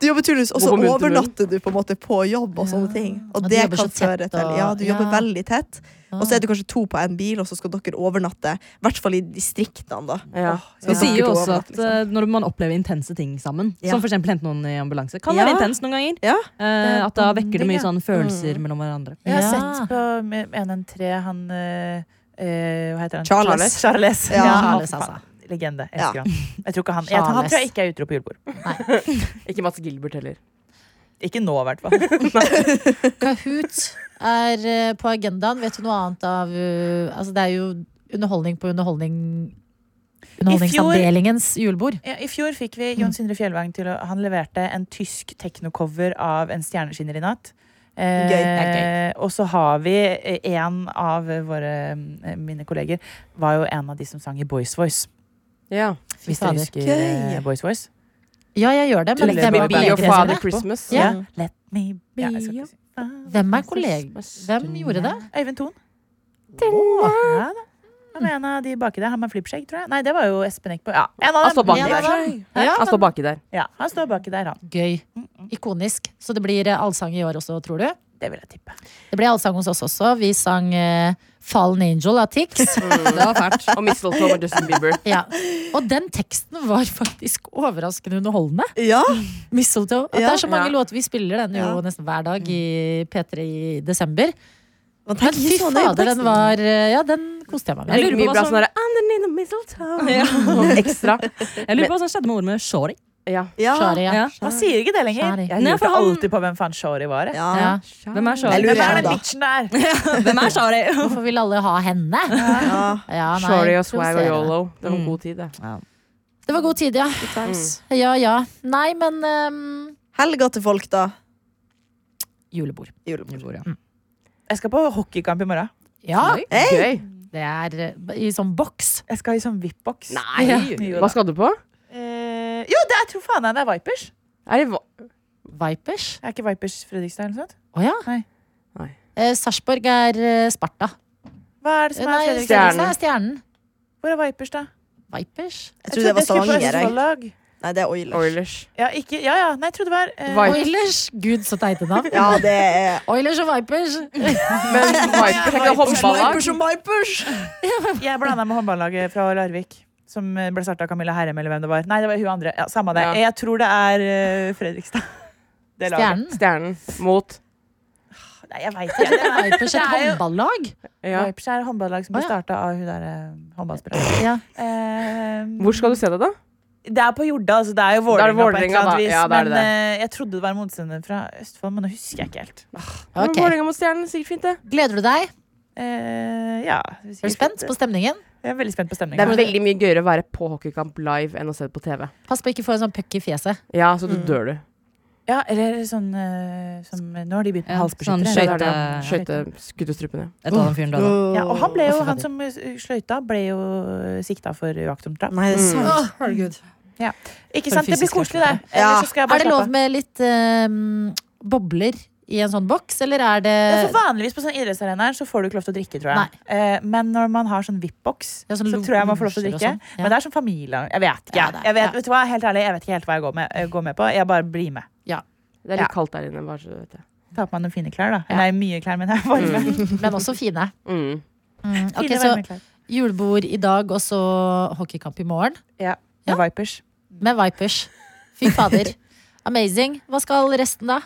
Speaker 4: du jobber turnus, og så
Speaker 6: Gå på munn til munn.
Speaker 4: overnatter du på en måte på jobb og sånne ting.
Speaker 2: Og
Speaker 4: Og
Speaker 2: du
Speaker 4: det
Speaker 2: jobber
Speaker 4: kan
Speaker 2: så tett,
Speaker 4: føre til
Speaker 2: og-
Speaker 4: Ja, du jobber
Speaker 2: ja.
Speaker 4: veldig tett. Og så er du kanskje to på en bil, og så skal dere overnatte. I hvert fall i distriktene, da.
Speaker 6: Ja.
Speaker 4: Skal
Speaker 5: Vi
Speaker 4: dere
Speaker 5: sier jo også
Speaker 4: overnatte, liksom.
Speaker 5: at eh, når man opplever intense ting sammen,
Speaker 4: Ja.
Speaker 5: som for eksempel hente noen i ambulanse, kan
Speaker 4: Ja.
Speaker 5: være intens noen ganger.
Speaker 4: Ja.
Speaker 5: Eh, at da
Speaker 3: bonding,
Speaker 5: vekker det mye
Speaker 3: ja.
Speaker 5: sånn følelser
Speaker 2: Mm.
Speaker 5: mellom hverandre.
Speaker 3: Jeg
Speaker 2: Ja.
Speaker 3: har sett på 113 han eh, eh, Hva heter han?
Speaker 4: Charles.
Speaker 3: Charles.
Speaker 4: Ja,
Speaker 2: Charles,
Speaker 3: han-
Speaker 2: altså.
Speaker 3: Legende. Elsker
Speaker 4: Ja.
Speaker 3: han. Jeg tror ikke han, jeg, han
Speaker 2: Charles.
Speaker 3: tror jeg ikke er utro på julebord.
Speaker 6: Ikke Mats Gilbert heller.
Speaker 3: Ikke nå, i hvert fall.
Speaker 2: Kahoot er eh, på agendaen. Vet du noe annet av eh, Altså, det er jo underholdning på underholdning Underholdningsavdelingens julebord.
Speaker 3: Ja, I fjor fikk vi Jon Sindre Fjellvang til å Han leverte en tysk teknocover av En stjerneskinner i natt. Eh,
Speaker 4: Gøy. Det
Speaker 3: Og så har vi eh, en av våre eh, mine kolleger var jo en av de som sang i Boys Voice.
Speaker 6: Ja.
Speaker 2: Fy
Speaker 3: Hvis dere
Speaker 2: fader.
Speaker 3: husker
Speaker 4: Gøy.
Speaker 3: eh, Boys Voice.
Speaker 2: Ja, jeg gjør det, men
Speaker 3: Let
Speaker 2: hvem
Speaker 3: me
Speaker 2: er
Speaker 3: be your
Speaker 2: kollegene
Speaker 3: father
Speaker 2: sine?
Speaker 6: Christmas.
Speaker 2: Ja.
Speaker 4: Mm.
Speaker 3: Let me be ja,
Speaker 6: Ja, jeg
Speaker 3: jeg
Speaker 6: skal
Speaker 3: skal
Speaker 6: ikke
Speaker 3: ikke si-
Speaker 2: Hvem er kolleg... Hvem gjorde det?
Speaker 3: Øyvind Thon. Ja da. Han er en av de baki der. Han med flippskjegg, tror jeg. Nei, det var jo Espen Eckbo. Ja, en av
Speaker 6: Han står
Speaker 3: dem.
Speaker 6: baki
Speaker 3: En av
Speaker 6: der.
Speaker 3: dem.
Speaker 2: Ja, altså, Mm,
Speaker 6: Han står baki der.
Speaker 3: Ja, han står baki der, han.
Speaker 2: Gøy. Ikonisk. Så det blir eh, allsang i år også, tror du?
Speaker 3: Det vil jeg tippe.
Speaker 2: Det ble allsang hos oss også. Vi sang eh, Fallen Angel av Tix.
Speaker 5: Det var fælt.
Speaker 6: Og mistletoe med Justin Bieber.
Speaker 2: Ja. Og den teksten var faktisk overraskende underholdende.
Speaker 4: Ja,
Speaker 2: Mistletoe. At
Speaker 4: Ja.
Speaker 2: det er så mange
Speaker 6: Ja.
Speaker 2: låter vi spiller den jo
Speaker 4: Ja.
Speaker 2: nesten hver dag i P3 i desember.
Speaker 4: man
Speaker 2: Men
Speaker 4: tenker
Speaker 2: fy
Speaker 4: ikke så nøye på
Speaker 2: fader, den
Speaker 4: teksten.
Speaker 2: var eh, Ja, den koste jeg meg med.
Speaker 5: lurer på
Speaker 6: Mye
Speaker 5: hva
Speaker 6: bra
Speaker 5: som-
Speaker 6: sånn derre Underneath the mistletoe. Ekstra.
Speaker 5: Jeg lurer på hva som skjedde med ordet med shorty.
Speaker 6: Ja.
Speaker 4: Ja.
Speaker 2: Sorry, ja.
Speaker 5: Ja.
Speaker 3: Han sier ikke det lenger.
Speaker 2: Sorry.
Speaker 3: Jeg
Speaker 5: Nei, for
Speaker 3: lurte
Speaker 5: han-
Speaker 3: alltid på hvem faen Shori var. jeg.
Speaker 4: Ja.
Speaker 2: Ja.
Speaker 5: Hvem er shorty?
Speaker 4: Jeg lurer
Speaker 3: Hvem er
Speaker 4: da.
Speaker 3: den bitchen der?
Speaker 5: Hvem er shorty?
Speaker 2: Hvorfor vil alle ha henne?
Speaker 4: Ja.
Speaker 2: Ja, Ah, nei,
Speaker 6: Shorty og swag og
Speaker 2: provoserende.
Speaker 6: yolo. Det var en
Speaker 5: Mm.
Speaker 6: god tid, det.
Speaker 2: Det var god tid, ja.
Speaker 3: Mm.
Speaker 2: Ja ja. Nei, men ehm,
Speaker 4: Helga til folk, da.
Speaker 2: Julebord.
Speaker 4: Julebord.
Speaker 5: Julebord, ja.
Speaker 3: Jeg skal på hockeykamp i morgen.
Speaker 2: Ja,
Speaker 4: Hey!
Speaker 6: Gøy.
Speaker 2: det er eh, i sånn boks.
Speaker 3: Jeg skal i sånn VIP-boks.
Speaker 6: Nei.
Speaker 3: Ja. Jo,
Speaker 6: Hva
Speaker 3: da.
Speaker 6: skal du på?
Speaker 3: Eh, jo, det, jeg tror faen jeg det er Vipers.
Speaker 6: Er det va-
Speaker 2: Vipers.
Speaker 3: Er ikke Vipers Fredrikstad eller noe sånt?
Speaker 2: Å ja.
Speaker 3: Nei.
Speaker 6: Nei.
Speaker 2: Eh, Sarpsborg er eh, Sparta.
Speaker 3: Hva er det som
Speaker 2: Eh, Nei,
Speaker 3: er Fredrikstad?
Speaker 6: Stjernen.
Speaker 2: Fredrikstad er Stjernen.
Speaker 3: Hvor er Vipers, da?
Speaker 2: Vipers.
Speaker 4: Jeg trodde
Speaker 3: trodde jeg skulle
Speaker 4: det var
Speaker 3: på
Speaker 4: Stavanger. jeg.
Speaker 3: Østfoldlag.
Speaker 4: Nei, det er Oilers.
Speaker 6: Oilers?
Speaker 3: Ja, ikke, ja, ja. Nei, jeg trodde det var eh,
Speaker 6: Vipers.
Speaker 2: Oilers. Gud, så teite navn.
Speaker 4: Ja, det er
Speaker 2: Oilers og Vipers.
Speaker 6: Men Vipers er ikke håndballag?
Speaker 4: og Vipers!
Speaker 3: Jeg blanda med håndballaget fra Larvik. Som eh, ble starta av Camilla Herrem, eller hvem det var. Nei, det var hun andre. Ja, samme det.
Speaker 6: Ja.
Speaker 3: Jeg tror det er eh, Fredrikstad. Det laget.
Speaker 2: Stjernen.
Speaker 6: Stjernen mot
Speaker 3: Nei, jeg veit ikke. Det er-
Speaker 2: Vipers
Speaker 3: det
Speaker 2: et
Speaker 3: er jo-
Speaker 2: håndballag?
Speaker 6: ja.
Speaker 3: Vipers er håndballag som
Speaker 2: Å,
Speaker 3: ble
Speaker 2: ja.
Speaker 3: starta av hun derre håndballspilleren.
Speaker 2: Ja.
Speaker 3: Eh,
Speaker 6: Hvor skal du se det, da?
Speaker 3: Det er på Jorda, altså. Det er jo
Speaker 6: Da er det
Speaker 3: Vålerenga på et
Speaker 6: Vålerenga,
Speaker 3: eller annet
Speaker 6: da.
Speaker 3: vis.
Speaker 6: Ja, da er
Speaker 3: men
Speaker 6: det
Speaker 3: eh, jeg trodde det var en motstander fra Østfold, men nå husker jeg ikke helt.
Speaker 6: Men
Speaker 2: Ok.
Speaker 6: Vålerenga mot Stjernen, sikkert fint, det.
Speaker 2: Gleder du deg?
Speaker 3: Eh, ja.
Speaker 2: Er du spent på stemningen?
Speaker 3: Jeg er veldig spent på
Speaker 6: Det er
Speaker 3: stemninga.
Speaker 6: veldig mye gøyere å være på hockeykamp live enn å se det på Mm. TV.
Speaker 2: Pass på ikke å få en sånn puck i fjeset.
Speaker 6: Ja, så du dør, du.
Speaker 3: Ja, eller sånn eh, som Nå har de begynt med
Speaker 5: Ja,
Speaker 3: halsbeskyttere.
Speaker 5: sånn
Speaker 6: Det
Speaker 5: skøyte-
Speaker 6: er det.
Speaker 3: eh,
Speaker 6: Skøyte skutterstrupen, ja.
Speaker 5: Et av den fyren da, da.
Speaker 3: Ja, og han, ble jo, han som eh, sløyta, ble jo eh, sikta for uaktsomt drap.
Speaker 4: Nei, det er
Speaker 6: Mm.
Speaker 4: sant.
Speaker 3: Ikke
Speaker 5: For
Speaker 3: sant? Det blir
Speaker 5: fysisk
Speaker 3: koselig, det.
Speaker 4: Ja.
Speaker 3: Eller så
Speaker 2: Er
Speaker 3: skal jeg bare
Speaker 2: det lov
Speaker 3: slappe av.
Speaker 2: med litt ehm, bobler i en sånn boks, eller er det
Speaker 3: Ja, for vanligvis på sånn idrettsarenaer så får du ikke lov til å drikke, tror jeg. Eh, men når man har sånn VIP-boks,
Speaker 2: Ja, sånn
Speaker 3: så tror jeg man får lov til å
Speaker 2: lunsjer og
Speaker 3: drikke.
Speaker 2: sånn, ja.
Speaker 3: Men det er sånn familie Jeg vet ikke.
Speaker 2: Ja, det er-
Speaker 3: jeg,
Speaker 2: ja.
Speaker 3: vet, vet du hva? Helt ærlig, jeg vet ikke helt hva jeg går med, eh, går med på. Jeg bare blir med.
Speaker 6: Det er litt
Speaker 3: Ja.
Speaker 6: kaldt der inne. Bare så du vet det.
Speaker 3: Ta på meg noen fine klær, da. Nei, mye klær, men jeg er varme.
Speaker 2: Men også fine.
Speaker 6: Mm.
Speaker 2: Mm, ok,
Speaker 3: Fine,
Speaker 2: så
Speaker 3: varme klær.
Speaker 2: julebord i dag og så hockeykamp i morgen
Speaker 3: Ja. Med Vipers.
Speaker 2: med Vipers. Fy fader. Amazing. Hva skal resten, da?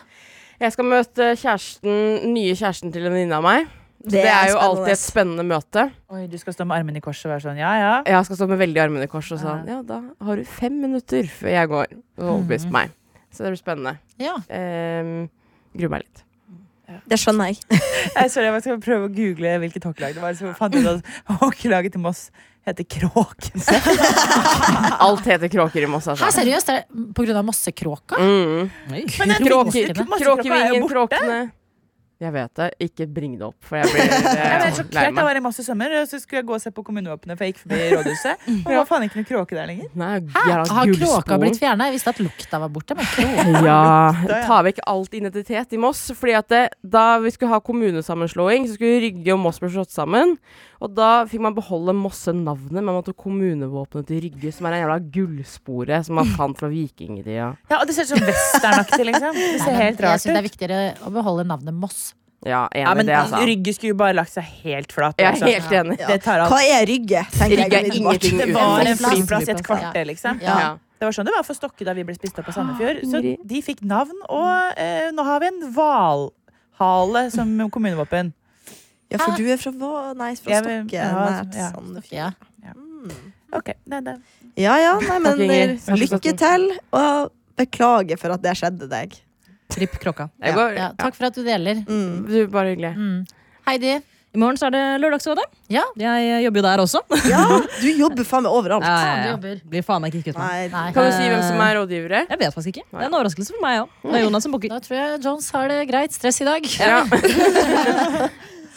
Speaker 6: Jeg skal møte kjæresten, nye kjæresten til en venninne av meg. Så det, er jo alltid et spennende møte.
Speaker 3: Oi, du skal stå med armene i kors og være sånn, ja ja.
Speaker 6: Jeg skal stå med veldig armene i kors og sånn Ja, Mhm. da har du fem minutter før jeg går. Og overbevist meg. Så det blir spennende.
Speaker 2: Ja.
Speaker 6: Um, Gruer meg litt.
Speaker 4: Det skjønner jeg.
Speaker 3: Jeg, sorry, jeg skal prøve å google hvilket hockeylag det var. Så fant jeg ut at hockeylaget til Moss heter Kråken.
Speaker 6: Alt heter kråker i Moss,
Speaker 2: Hæ,
Speaker 6: altså.
Speaker 2: seriøst? Er det på grunn av Mossekråka?
Speaker 6: Mm. Kråker,
Speaker 3: Moss- Moss- er jo
Speaker 6: kråkevingen,
Speaker 3: borte.
Speaker 6: kråkene. Jeg vet det. Ikke bring det opp, for jeg blir
Speaker 3: Jeg ble
Speaker 6: eh,
Speaker 3: helt
Speaker 6: lei
Speaker 3: sjokkert. Jeg
Speaker 6: meg.
Speaker 3: var i Moss i sommer, og så skulle jeg gå og se på kommunevåpenet, for jeg gikk forbi rådhuset. Og det var faen ikke noen kråke der lenger.
Speaker 6: Nei, jævla
Speaker 2: Har kråka
Speaker 6: gullsporen.
Speaker 2: blitt fjerna? Jeg visste at lukta var borte, men kråka
Speaker 6: Ja.
Speaker 3: ja.
Speaker 6: Ta vekk alt identitet i Moss. Fordi at det, da vi skulle ha kommunesammenslåing, så skulle Rygge og Moss bli slått sammen. Og da fikk man beholde Mosse-navnet, men man tok kommunevåpenet til Rygge, som er en jævla gullspore som man fant fra vikingtida.
Speaker 3: Ja, og det ser ut som westernaktig, liksom. Det ser helt
Speaker 2: Jeg
Speaker 3: rart
Speaker 2: syns det er
Speaker 3: ut.
Speaker 2: viktigere å beholde navnet Moss.
Speaker 6: Ja, enig
Speaker 3: Ja,
Speaker 6: i
Speaker 3: men
Speaker 6: det, altså.
Speaker 3: Rygge skulle jo bare lagt seg helt flat.
Speaker 6: Jeg
Speaker 3: altså.
Speaker 6: er helt enig.
Speaker 4: Ja.
Speaker 3: Det tar alt.
Speaker 4: Hva er Rygge? tenker jeg
Speaker 6: Rygge er
Speaker 4: umiddelbart.
Speaker 6: ingenting
Speaker 3: Det
Speaker 6: uten.
Speaker 3: var en
Speaker 2: Flyplass.
Speaker 3: flyplass i et
Speaker 2: Flyplass, ja.
Speaker 3: kvarter, liksom.
Speaker 2: Ja.
Speaker 6: Ja.
Speaker 3: Det var sånn det var for Stokke da vi ble spist opp av Sandefjord. Så
Speaker 6: Ingrid.
Speaker 3: de fikk navn, og eh, nå har vi en hvalhale som kommunevåpen.
Speaker 4: Ja, for du er fra hva? Nei, fra
Speaker 3: Jeg vil-
Speaker 4: Stokke.
Speaker 3: ja,
Speaker 4: Nært
Speaker 3: ja.
Speaker 4: Sandefjord.
Speaker 2: Ja.
Speaker 3: Ok, nei, nei.
Speaker 4: Ja ja, nei, men
Speaker 6: Takk, Inger.
Speaker 4: eh, lykke til, og beklager for at det skjedde deg.
Speaker 5: Tripp kråka.
Speaker 6: Jeg går,
Speaker 2: Ja, takk for at du deler.
Speaker 4: Mm.
Speaker 6: Du, bare hyggelig.
Speaker 2: Heidi,
Speaker 5: I morgen så er det Lørdagsrådet.
Speaker 2: Ja.
Speaker 5: Jeg eh, jobber jo der også.
Speaker 4: Ja, du jobber faen meg overalt.
Speaker 5: Ja,
Speaker 2: faen, du
Speaker 5: ja, ja.
Speaker 2: jobber.
Speaker 5: Blir faen meg ikke kvitt meg.
Speaker 4: Nei,
Speaker 2: Nei.
Speaker 6: Kan du si hvem som er rådgivere?
Speaker 5: Jeg vet faktisk ikke. Det er en overraskelse for meg òg. Det er Jonas som booker.
Speaker 2: Da tror jeg Jones har det greit. Stress i dag.
Speaker 6: Ja.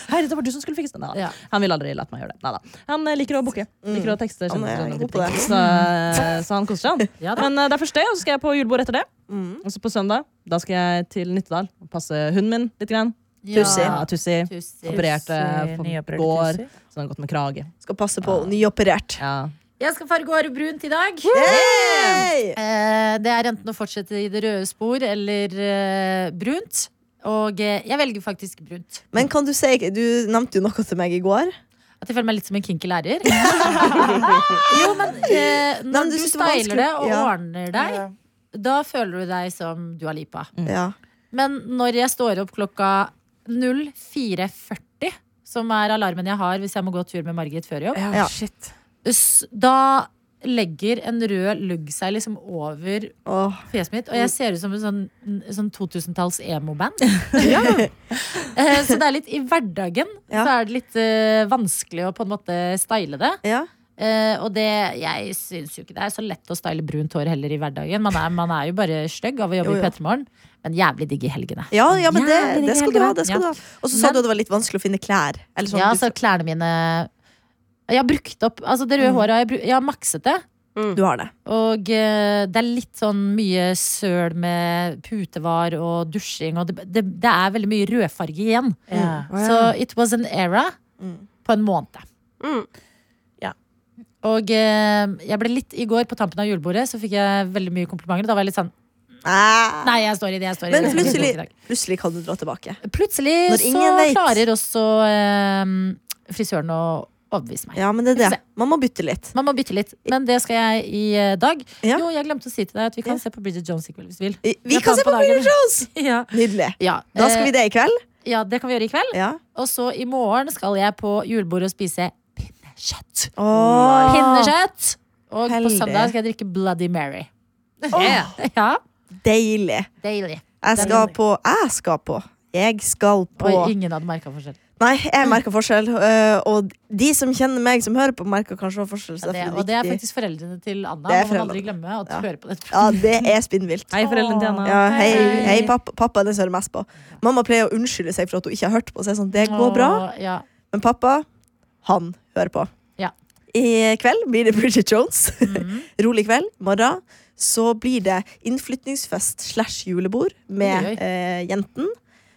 Speaker 5: Herre, det var du som skulle fikse den. Neida.
Speaker 2: Ja.
Speaker 5: Han ville aldri latt meg gjøre det. Neida. Han eh, liker å booke. Liker å tekste.
Speaker 4: Han er
Speaker 5: kjenner-
Speaker 4: god på det.
Speaker 5: Så, eh, så han koser seg, han.
Speaker 2: Ja da.
Speaker 5: Men eh, det er første, og så skal jeg på julebord etter det. Og så på søndag da skal jeg til Nittedal og passe hunden min litt. Grann.
Speaker 4: Tussi.
Speaker 5: Ja, tussi. Operert eh, på
Speaker 3: Nyoperert
Speaker 5: går.
Speaker 3: tussi.
Speaker 5: Så den har gått med krage.
Speaker 4: Skal passe på nyoperert.
Speaker 5: Ja.
Speaker 2: Jeg skal farge håret brunt i dag.
Speaker 4: Hey!
Speaker 2: Eh, det er enten å fortsette i det røde spor eller eh, brunt. Og eh, jeg velger faktisk brunt.
Speaker 4: Men kan du si Du nevnte jo noe til meg i går.
Speaker 2: At jeg føler meg litt som en kinky lærer. jo, men eh, når
Speaker 4: Nei, men
Speaker 2: du,
Speaker 4: du synes det var
Speaker 2: styler det og
Speaker 4: vanskelig. Ja.
Speaker 2: ordner deg,
Speaker 3: Ja.
Speaker 2: da føler du deg som Dua Lipa.
Speaker 6: Mm.
Speaker 4: Ja.
Speaker 2: Men når jeg står opp klokka 04.40, som er alarmen jeg har hvis jeg må gå tur med Margit før jobb,
Speaker 4: Ja.
Speaker 6: shit.
Speaker 2: s- da legger en rød lugg seg liksom over
Speaker 4: Åh.
Speaker 2: fjeset mitt,
Speaker 4: Mm.
Speaker 2: og jeg ser ut som en sånn, en sånn 2000-talls emo-band. Eh, Så det er litt i hverdagen
Speaker 4: Ja.
Speaker 2: så er det litt eh, vanskelig å på en måte style det.
Speaker 4: Ja.
Speaker 2: Eh, og det, jeg syns jo ikke det er så lett å style brunt hår heller i hverdagen. Man er, man er jo bare stygg av å jobbe
Speaker 4: Jo,
Speaker 2: i
Speaker 4: ja.
Speaker 2: P3 Morgen, men jævlig digg i helgene.
Speaker 4: Ja, ja, men det,
Speaker 2: Ja, men det
Speaker 4: det skal
Speaker 2: er
Speaker 4: du ha.
Speaker 2: helt
Speaker 4: Det skal
Speaker 2: bra.
Speaker 4: du ha. Og så sa
Speaker 2: Men-
Speaker 4: du at det var litt vanskelig å finne klær. Eller sånn,
Speaker 2: Ja,
Speaker 4: du,
Speaker 2: altså klærne mine Jeg har brukt opp Altså det
Speaker 4: Mm.
Speaker 2: røde håret har jeg, bru- jeg har makset det
Speaker 4: du har det.
Speaker 2: Og eh, det er litt sånn mye søl med putevar og dusjing Og det, det, det er veldig mye rødfarge igjen
Speaker 3: Ja.
Speaker 4: Mm.
Speaker 2: Mm. Så it was an era På en måned
Speaker 6: Mm.
Speaker 3: Ja.
Speaker 2: Og eh, jeg ble litt i går på tampen av julebordet Så fikk jeg veldig mye komplimenter Da var jeg litt sånn,
Speaker 4: Ah.
Speaker 2: nei jeg står i det, jeg står i det
Speaker 4: Men
Speaker 2: jeg står i det
Speaker 4: plutselig,
Speaker 2: i dag.
Speaker 4: plutselig kan du dra tilbake.
Speaker 2: Plutselig
Speaker 4: Når
Speaker 2: så
Speaker 4: ingen vet.
Speaker 2: klarer også eh, frisøren å overbevise meg
Speaker 4: Ja, men det er det. Man må bytte litt.
Speaker 2: Man må bytte litt, men det skal jeg i eh, dag.
Speaker 4: Ja.
Speaker 2: Jo, jeg glemte å si til deg at vi kan
Speaker 4: Ja.
Speaker 2: se på Bridget Jones i kveld hvis du vil.
Speaker 4: Vi, vi
Speaker 2: Jeg tar
Speaker 4: kan se
Speaker 2: på
Speaker 4: på
Speaker 2: dagen.
Speaker 4: Bridget Jones!
Speaker 2: Ja.
Speaker 4: Nydelig.
Speaker 2: Ja,
Speaker 4: Da skal vi det i kveld.
Speaker 2: eh, ja, det kan vi gjøre i kveld.
Speaker 4: Ja.
Speaker 2: Og så i morgen skal jeg på julebordet og spise pinnekjøtt.
Speaker 4: Åh.
Speaker 2: Pinnekjøtt! Og på
Speaker 4: Heldig.
Speaker 2: søndag skal jeg drikke Bloody Mary. Ja,
Speaker 4: Deilig.
Speaker 2: Deilig.
Speaker 4: Jeg skal på Jeg skal på. Jeg skal på
Speaker 2: Og ingen hadde merka forskjell.
Speaker 4: Nei, jeg merker forskjell. øh, Og de som kjenner meg, som hører på, merker kanskje også forskjell. Så
Speaker 2: Ja, det,
Speaker 4: derfor
Speaker 2: og det
Speaker 4: er
Speaker 2: er
Speaker 4: det viktig.
Speaker 2: faktisk foreldrene til Anna.
Speaker 4: Det er
Speaker 2: Må man aldri
Speaker 4: foreldrene.
Speaker 2: glemme at
Speaker 4: Ja.
Speaker 2: hører på dette.
Speaker 4: Ja, det er spinnvilt.
Speaker 5: Hei, foreldrene til Anna.
Speaker 4: Ja, hei,
Speaker 2: Hei.
Speaker 4: hei pappa, pappa er den som hører mest på. Mamma pleier å unnskylde seg for at hun ikke har hørt på. Og så er jeg sånn, det går bra
Speaker 2: Og, ja.
Speaker 4: Men pappa, han hører på.
Speaker 2: Ja.
Speaker 4: I kveld blir det Bridget Jones.
Speaker 2: Mm.
Speaker 4: Rolig kveld. Morgen så blir det innflytningsfest slash julebord
Speaker 2: Oi, oi.
Speaker 4: med eh, jenten.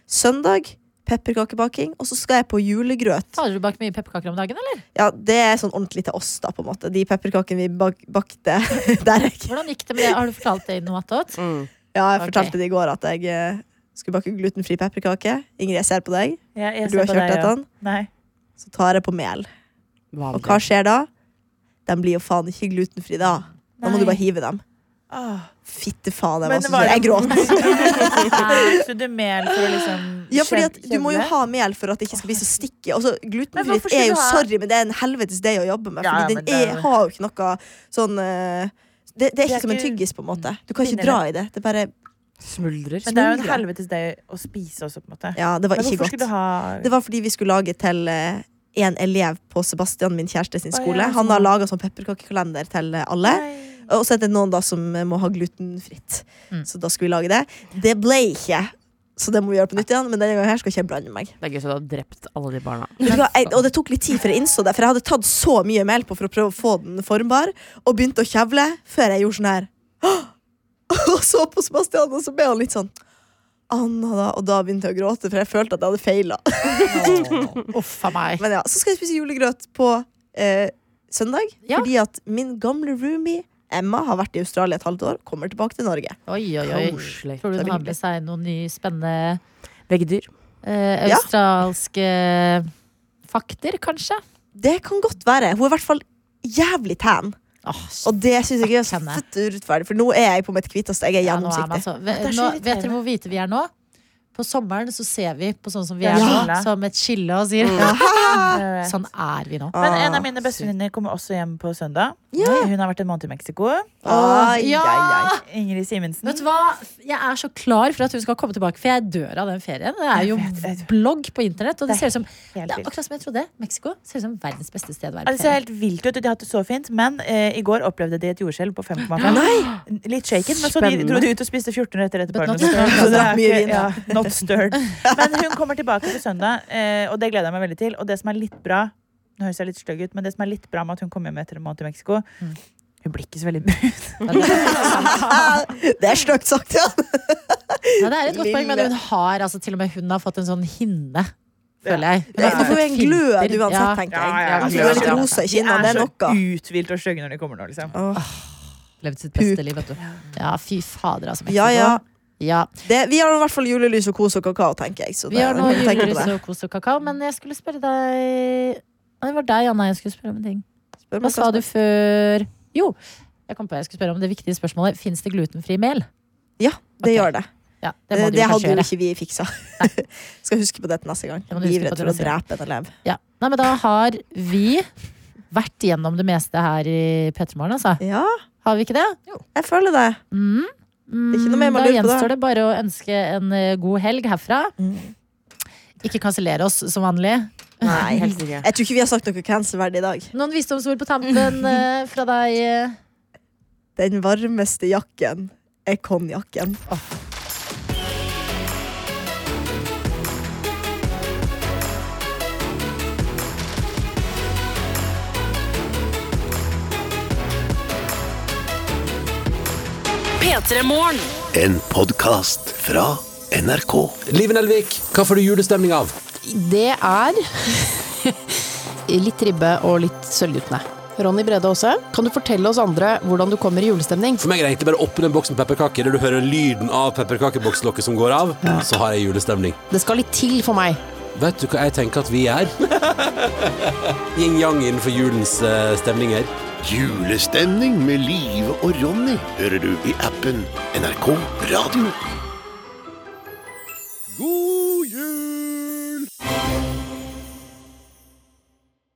Speaker 4: Søndag pepperkakebaking. Og så skal jeg på julegrøt.
Speaker 2: Har du bakt mye pepperkaker om dagen, eller?
Speaker 4: Ja, Det er sånn ordentlig til oss, da, på en måte. De pepperkakene vi bak bakte der jeg
Speaker 2: Hvordan gikk det med det? Har du fortalt det i noe attåt?
Speaker 6: Mm.
Speaker 4: Ja, jeg
Speaker 2: Ok.
Speaker 4: fortalte det i går at jeg eh, Skulle bake glutenfri pepperkake. Ingrid, jeg ser på deg.
Speaker 3: Jeg, jeg
Speaker 4: Du har
Speaker 3: ser på
Speaker 4: kjørt
Speaker 3: deg,
Speaker 4: etter
Speaker 3: ja.
Speaker 4: den.
Speaker 3: Nei.
Speaker 4: Så tar jeg på mel.
Speaker 6: Hva
Speaker 4: Og hva skjer da? De blir jo faen ikke glutenfri da. Da må
Speaker 3: Nei.
Speaker 4: du bare hive dem.
Speaker 3: Åh.
Speaker 4: Fitte faen, jeg,
Speaker 3: Men
Speaker 4: var altså, så
Speaker 3: var
Speaker 4: sur. jeg gråt.
Speaker 3: Brukte du mel for å liksom
Speaker 4: Ja, fordi at
Speaker 3: kjevle-
Speaker 4: du må jo
Speaker 3: kjevle?
Speaker 4: ha mel for at det ikke skal bli så stikke. Altså,
Speaker 3: Men hvorfor
Speaker 4: Glutenfritt
Speaker 3: skal
Speaker 4: er jo
Speaker 3: du ha-
Speaker 4: sorry, men det er en helvetes deig å jobbe med.
Speaker 3: Ja,
Speaker 4: Fordi
Speaker 3: men
Speaker 4: den er,
Speaker 3: det-
Speaker 4: har jo ikke noe sånn eh, det, det er
Speaker 3: Det er
Speaker 4: ikke som en
Speaker 3: ikke-
Speaker 4: tyggis, på en måte. Du kan
Speaker 3: Finner
Speaker 4: ikke dra i det. Det er bare
Speaker 6: Smuldrer.
Speaker 3: Men det er jo en
Speaker 4: smuldre.
Speaker 3: helvetes deg å spise også, på en måte.
Speaker 4: Ja, det var
Speaker 3: Men
Speaker 4: ikke
Speaker 3: hvorfor skulle
Speaker 4: godt.
Speaker 3: du ha
Speaker 4: Det var fordi vi skulle lage til eh, en elev på Sebastian, min kjæreste sin
Speaker 3: Å, ja,
Speaker 4: skole.
Speaker 3: sånn.
Speaker 4: Han har laga sånn pepperkakekalender til eh, alle.
Speaker 3: Nei.
Speaker 4: Og så er det noen da som eh, må ha glutenfritt.
Speaker 2: Mm.
Speaker 4: Så da skulle vi lage det. Det ble ikke. Så det må vi gjøre på nytt igjen, men denne gangen her skal ikke jeg blande meg.
Speaker 6: Det er gøy så du har drept alle de barna.
Speaker 4: Vet du hva, jeg, og det tok litt tid før jeg innså det, for jeg hadde tatt så mye mel på for å prøve å få den formbar, og begynte å kjevle før jeg gjorde sånn her. Og så på Sebastian, og så ble han litt sånn Anna, da. Og da begynte jeg å gråte, for jeg følte at jeg hadde feila.
Speaker 2: Uff a meg.
Speaker 4: Men ja, så skal jeg spise julegrøt på eh, søndag,
Speaker 2: Ja.
Speaker 4: fordi at min gamle roomie Emma har vært i Australia et halvt år, kommer tilbake til Norge.
Speaker 2: Oi, oi, oi.
Speaker 6: Koselig.
Speaker 2: Tror du hun har med seg noen nye spennende
Speaker 6: Veggdyr.
Speaker 2: eh,
Speaker 4: Ja.
Speaker 2: australske fakter, kanskje?
Speaker 4: Det kan godt være. Hun er i hvert fall jævlig tan,
Speaker 2: Åh,
Speaker 4: og det syns jeg er så
Speaker 2: Henne.
Speaker 4: fett urettferdig, for nå er jeg på mitt hviteste. Jeg er
Speaker 2: Ja, nå er man
Speaker 4: gjennomsiktig.
Speaker 2: så-
Speaker 3: det
Speaker 2: Ve-
Speaker 3: er så
Speaker 2: nå-
Speaker 3: irriterende.
Speaker 2: Vet dere hvor hvite vi er nå? På sommeren så ser vi på sånn som vi
Speaker 3: Ja.
Speaker 2: er nå,
Speaker 3: Skille.
Speaker 2: som et skille og sier
Speaker 3: Eh,
Speaker 2: Sånn er vi nå.
Speaker 3: Men en
Speaker 4: Ah.
Speaker 3: av mine bestevenninner kommer også hjem på søndag.
Speaker 4: Ja.
Speaker 3: Hun har vært en måned i Mexico.
Speaker 4: Ai,
Speaker 2: Ah, Ja!
Speaker 4: ai, ai.
Speaker 3: Ingrid Simensen.
Speaker 2: Vet du hva? Jeg er så klar for at hun skal komme tilbake, for jeg dør av den ferien. Det er jo
Speaker 3: Jeg vet, jeg vet.
Speaker 2: blogg på internett, og det
Speaker 3: Det
Speaker 2: ser ut som
Speaker 3: Helt
Speaker 2: det er
Speaker 3: vilt.
Speaker 2: akkurat som jeg trodde. Mexico ser ut som verdens beste sted å være
Speaker 3: Ja,
Speaker 2: på
Speaker 3: Det ser
Speaker 2: ferie.
Speaker 3: helt vilt ut, og de har hatt det så fint, men eh, i går opplevde de et jordskjelv på 5,5. Litt shaken, men så de,
Speaker 6: Spennende.
Speaker 3: dro de ut og spiste 14 retter etter
Speaker 2: But
Speaker 3: barna.
Speaker 2: not stirred.
Speaker 3: Så det
Speaker 4: Drakk
Speaker 3: er
Speaker 4: mye
Speaker 3: ikke-
Speaker 4: vin, da.
Speaker 3: ja, Not stirred. Men hun kommer tilbake på søndag, eh, og det gleder jeg meg veldig til. Og det som er litt bra Nå høres jeg litt stygg ut, men det som er litt bra med at hun kommer hjem etter en måned i Mexico
Speaker 4: Mm.
Speaker 3: Hun blir ikke så veldig brun.
Speaker 4: Det er stygt sagt, ja.
Speaker 2: Ja, det er et godt poeng, men
Speaker 4: Lille.
Speaker 2: hun har altså til og med hun har fått en sånn hinne, føler jeg. Hun
Speaker 4: Du
Speaker 2: har fått
Speaker 4: får jo
Speaker 2: et
Speaker 4: en
Speaker 2: filter.
Speaker 4: glød uansett,
Speaker 2: Ja.
Speaker 4: tenker
Speaker 3: Ja, ja,
Speaker 4: jeg.
Speaker 3: ja,
Speaker 4: Altså, du er litt
Speaker 6: glød, ja.
Speaker 4: rosa i
Speaker 3: De
Speaker 4: kinnene, det
Speaker 3: er
Speaker 4: er
Speaker 3: så
Speaker 4: noe.
Speaker 3: uthvilt og stygge når de kommer nå, liksom.
Speaker 4: Åh.
Speaker 5: Levd sitt beste liv, vet du.
Speaker 2: Ja, fy fader, altså. Mexico.
Speaker 4: Ja, ja.
Speaker 2: Ja.
Speaker 4: Det, vi har i hvert fall julelys og kos og kakao, tenker jeg. Så
Speaker 2: Vi
Speaker 4: det,
Speaker 2: har nå
Speaker 4: jeg tenker på
Speaker 2: julelys
Speaker 4: det.
Speaker 2: og kos og kakao, men jeg skulle spørre deg Nei, Det var deg, Anna, jeg skulle spørre om en ting.
Speaker 4: Spør meg
Speaker 2: Hva sa
Speaker 4: hva-
Speaker 2: du før Jo, jeg kom på jeg skulle spørre om det viktige spørsmålet. Fins det glutenfri mel?
Speaker 4: Ja, det
Speaker 2: Ok.
Speaker 4: gjør det.
Speaker 2: Ja, det
Speaker 4: Eh, Det,
Speaker 2: må du jo
Speaker 4: hadde
Speaker 2: kanskje
Speaker 4: jo
Speaker 2: gjøre.
Speaker 4: ikke vi fiksa. Skal huske på dette neste gang.
Speaker 2: må du huske på
Speaker 4: Livredd for å
Speaker 2: det neste
Speaker 4: drepe en elev.
Speaker 2: Ja. Nei, men da har vi vært gjennom det meste her i P3 Morgen, altså.
Speaker 4: Ja,
Speaker 2: Har vi ikke det? Jo.
Speaker 4: jeg føler det.
Speaker 2: Mm. Mm,
Speaker 4: Ikke noe mer man
Speaker 2: da
Speaker 4: lurer på, da.
Speaker 2: gjenstår det bare å ønske en eh, god helg herfra.
Speaker 4: Mm.
Speaker 2: Ikke kansellere oss som vanlig.
Speaker 4: Nei.
Speaker 6: Helt sikkert.
Speaker 4: Jeg tror ikke vi har sagt noe cancerverdig i dag.
Speaker 2: Noen visdomsord på tampen eh, fra deg? eh?
Speaker 4: Den varmeste jakken er konjakken.
Speaker 7: En podkast fra NRK.
Speaker 8: Liv Nelvik, hva får du julestemning av?
Speaker 9: Det er litt ribbe og litt sølvguttene. Ronny Brede Aase, kan du fortelle oss andre hvordan du kommer i julestemning?
Speaker 8: For meg er det egentlig bare å åpne en boks med pepperkaker. Når du hører lyden av pepperkakebokslokket som går av, så har jeg julestemning.
Speaker 9: Det skal litt til for meg.
Speaker 8: Vet du hva jeg tenker at vi er? Yin-yang innenfor julens eh, stemninger.
Speaker 7: Julestemning med Live og Ronny hører du i appen NRK Radio.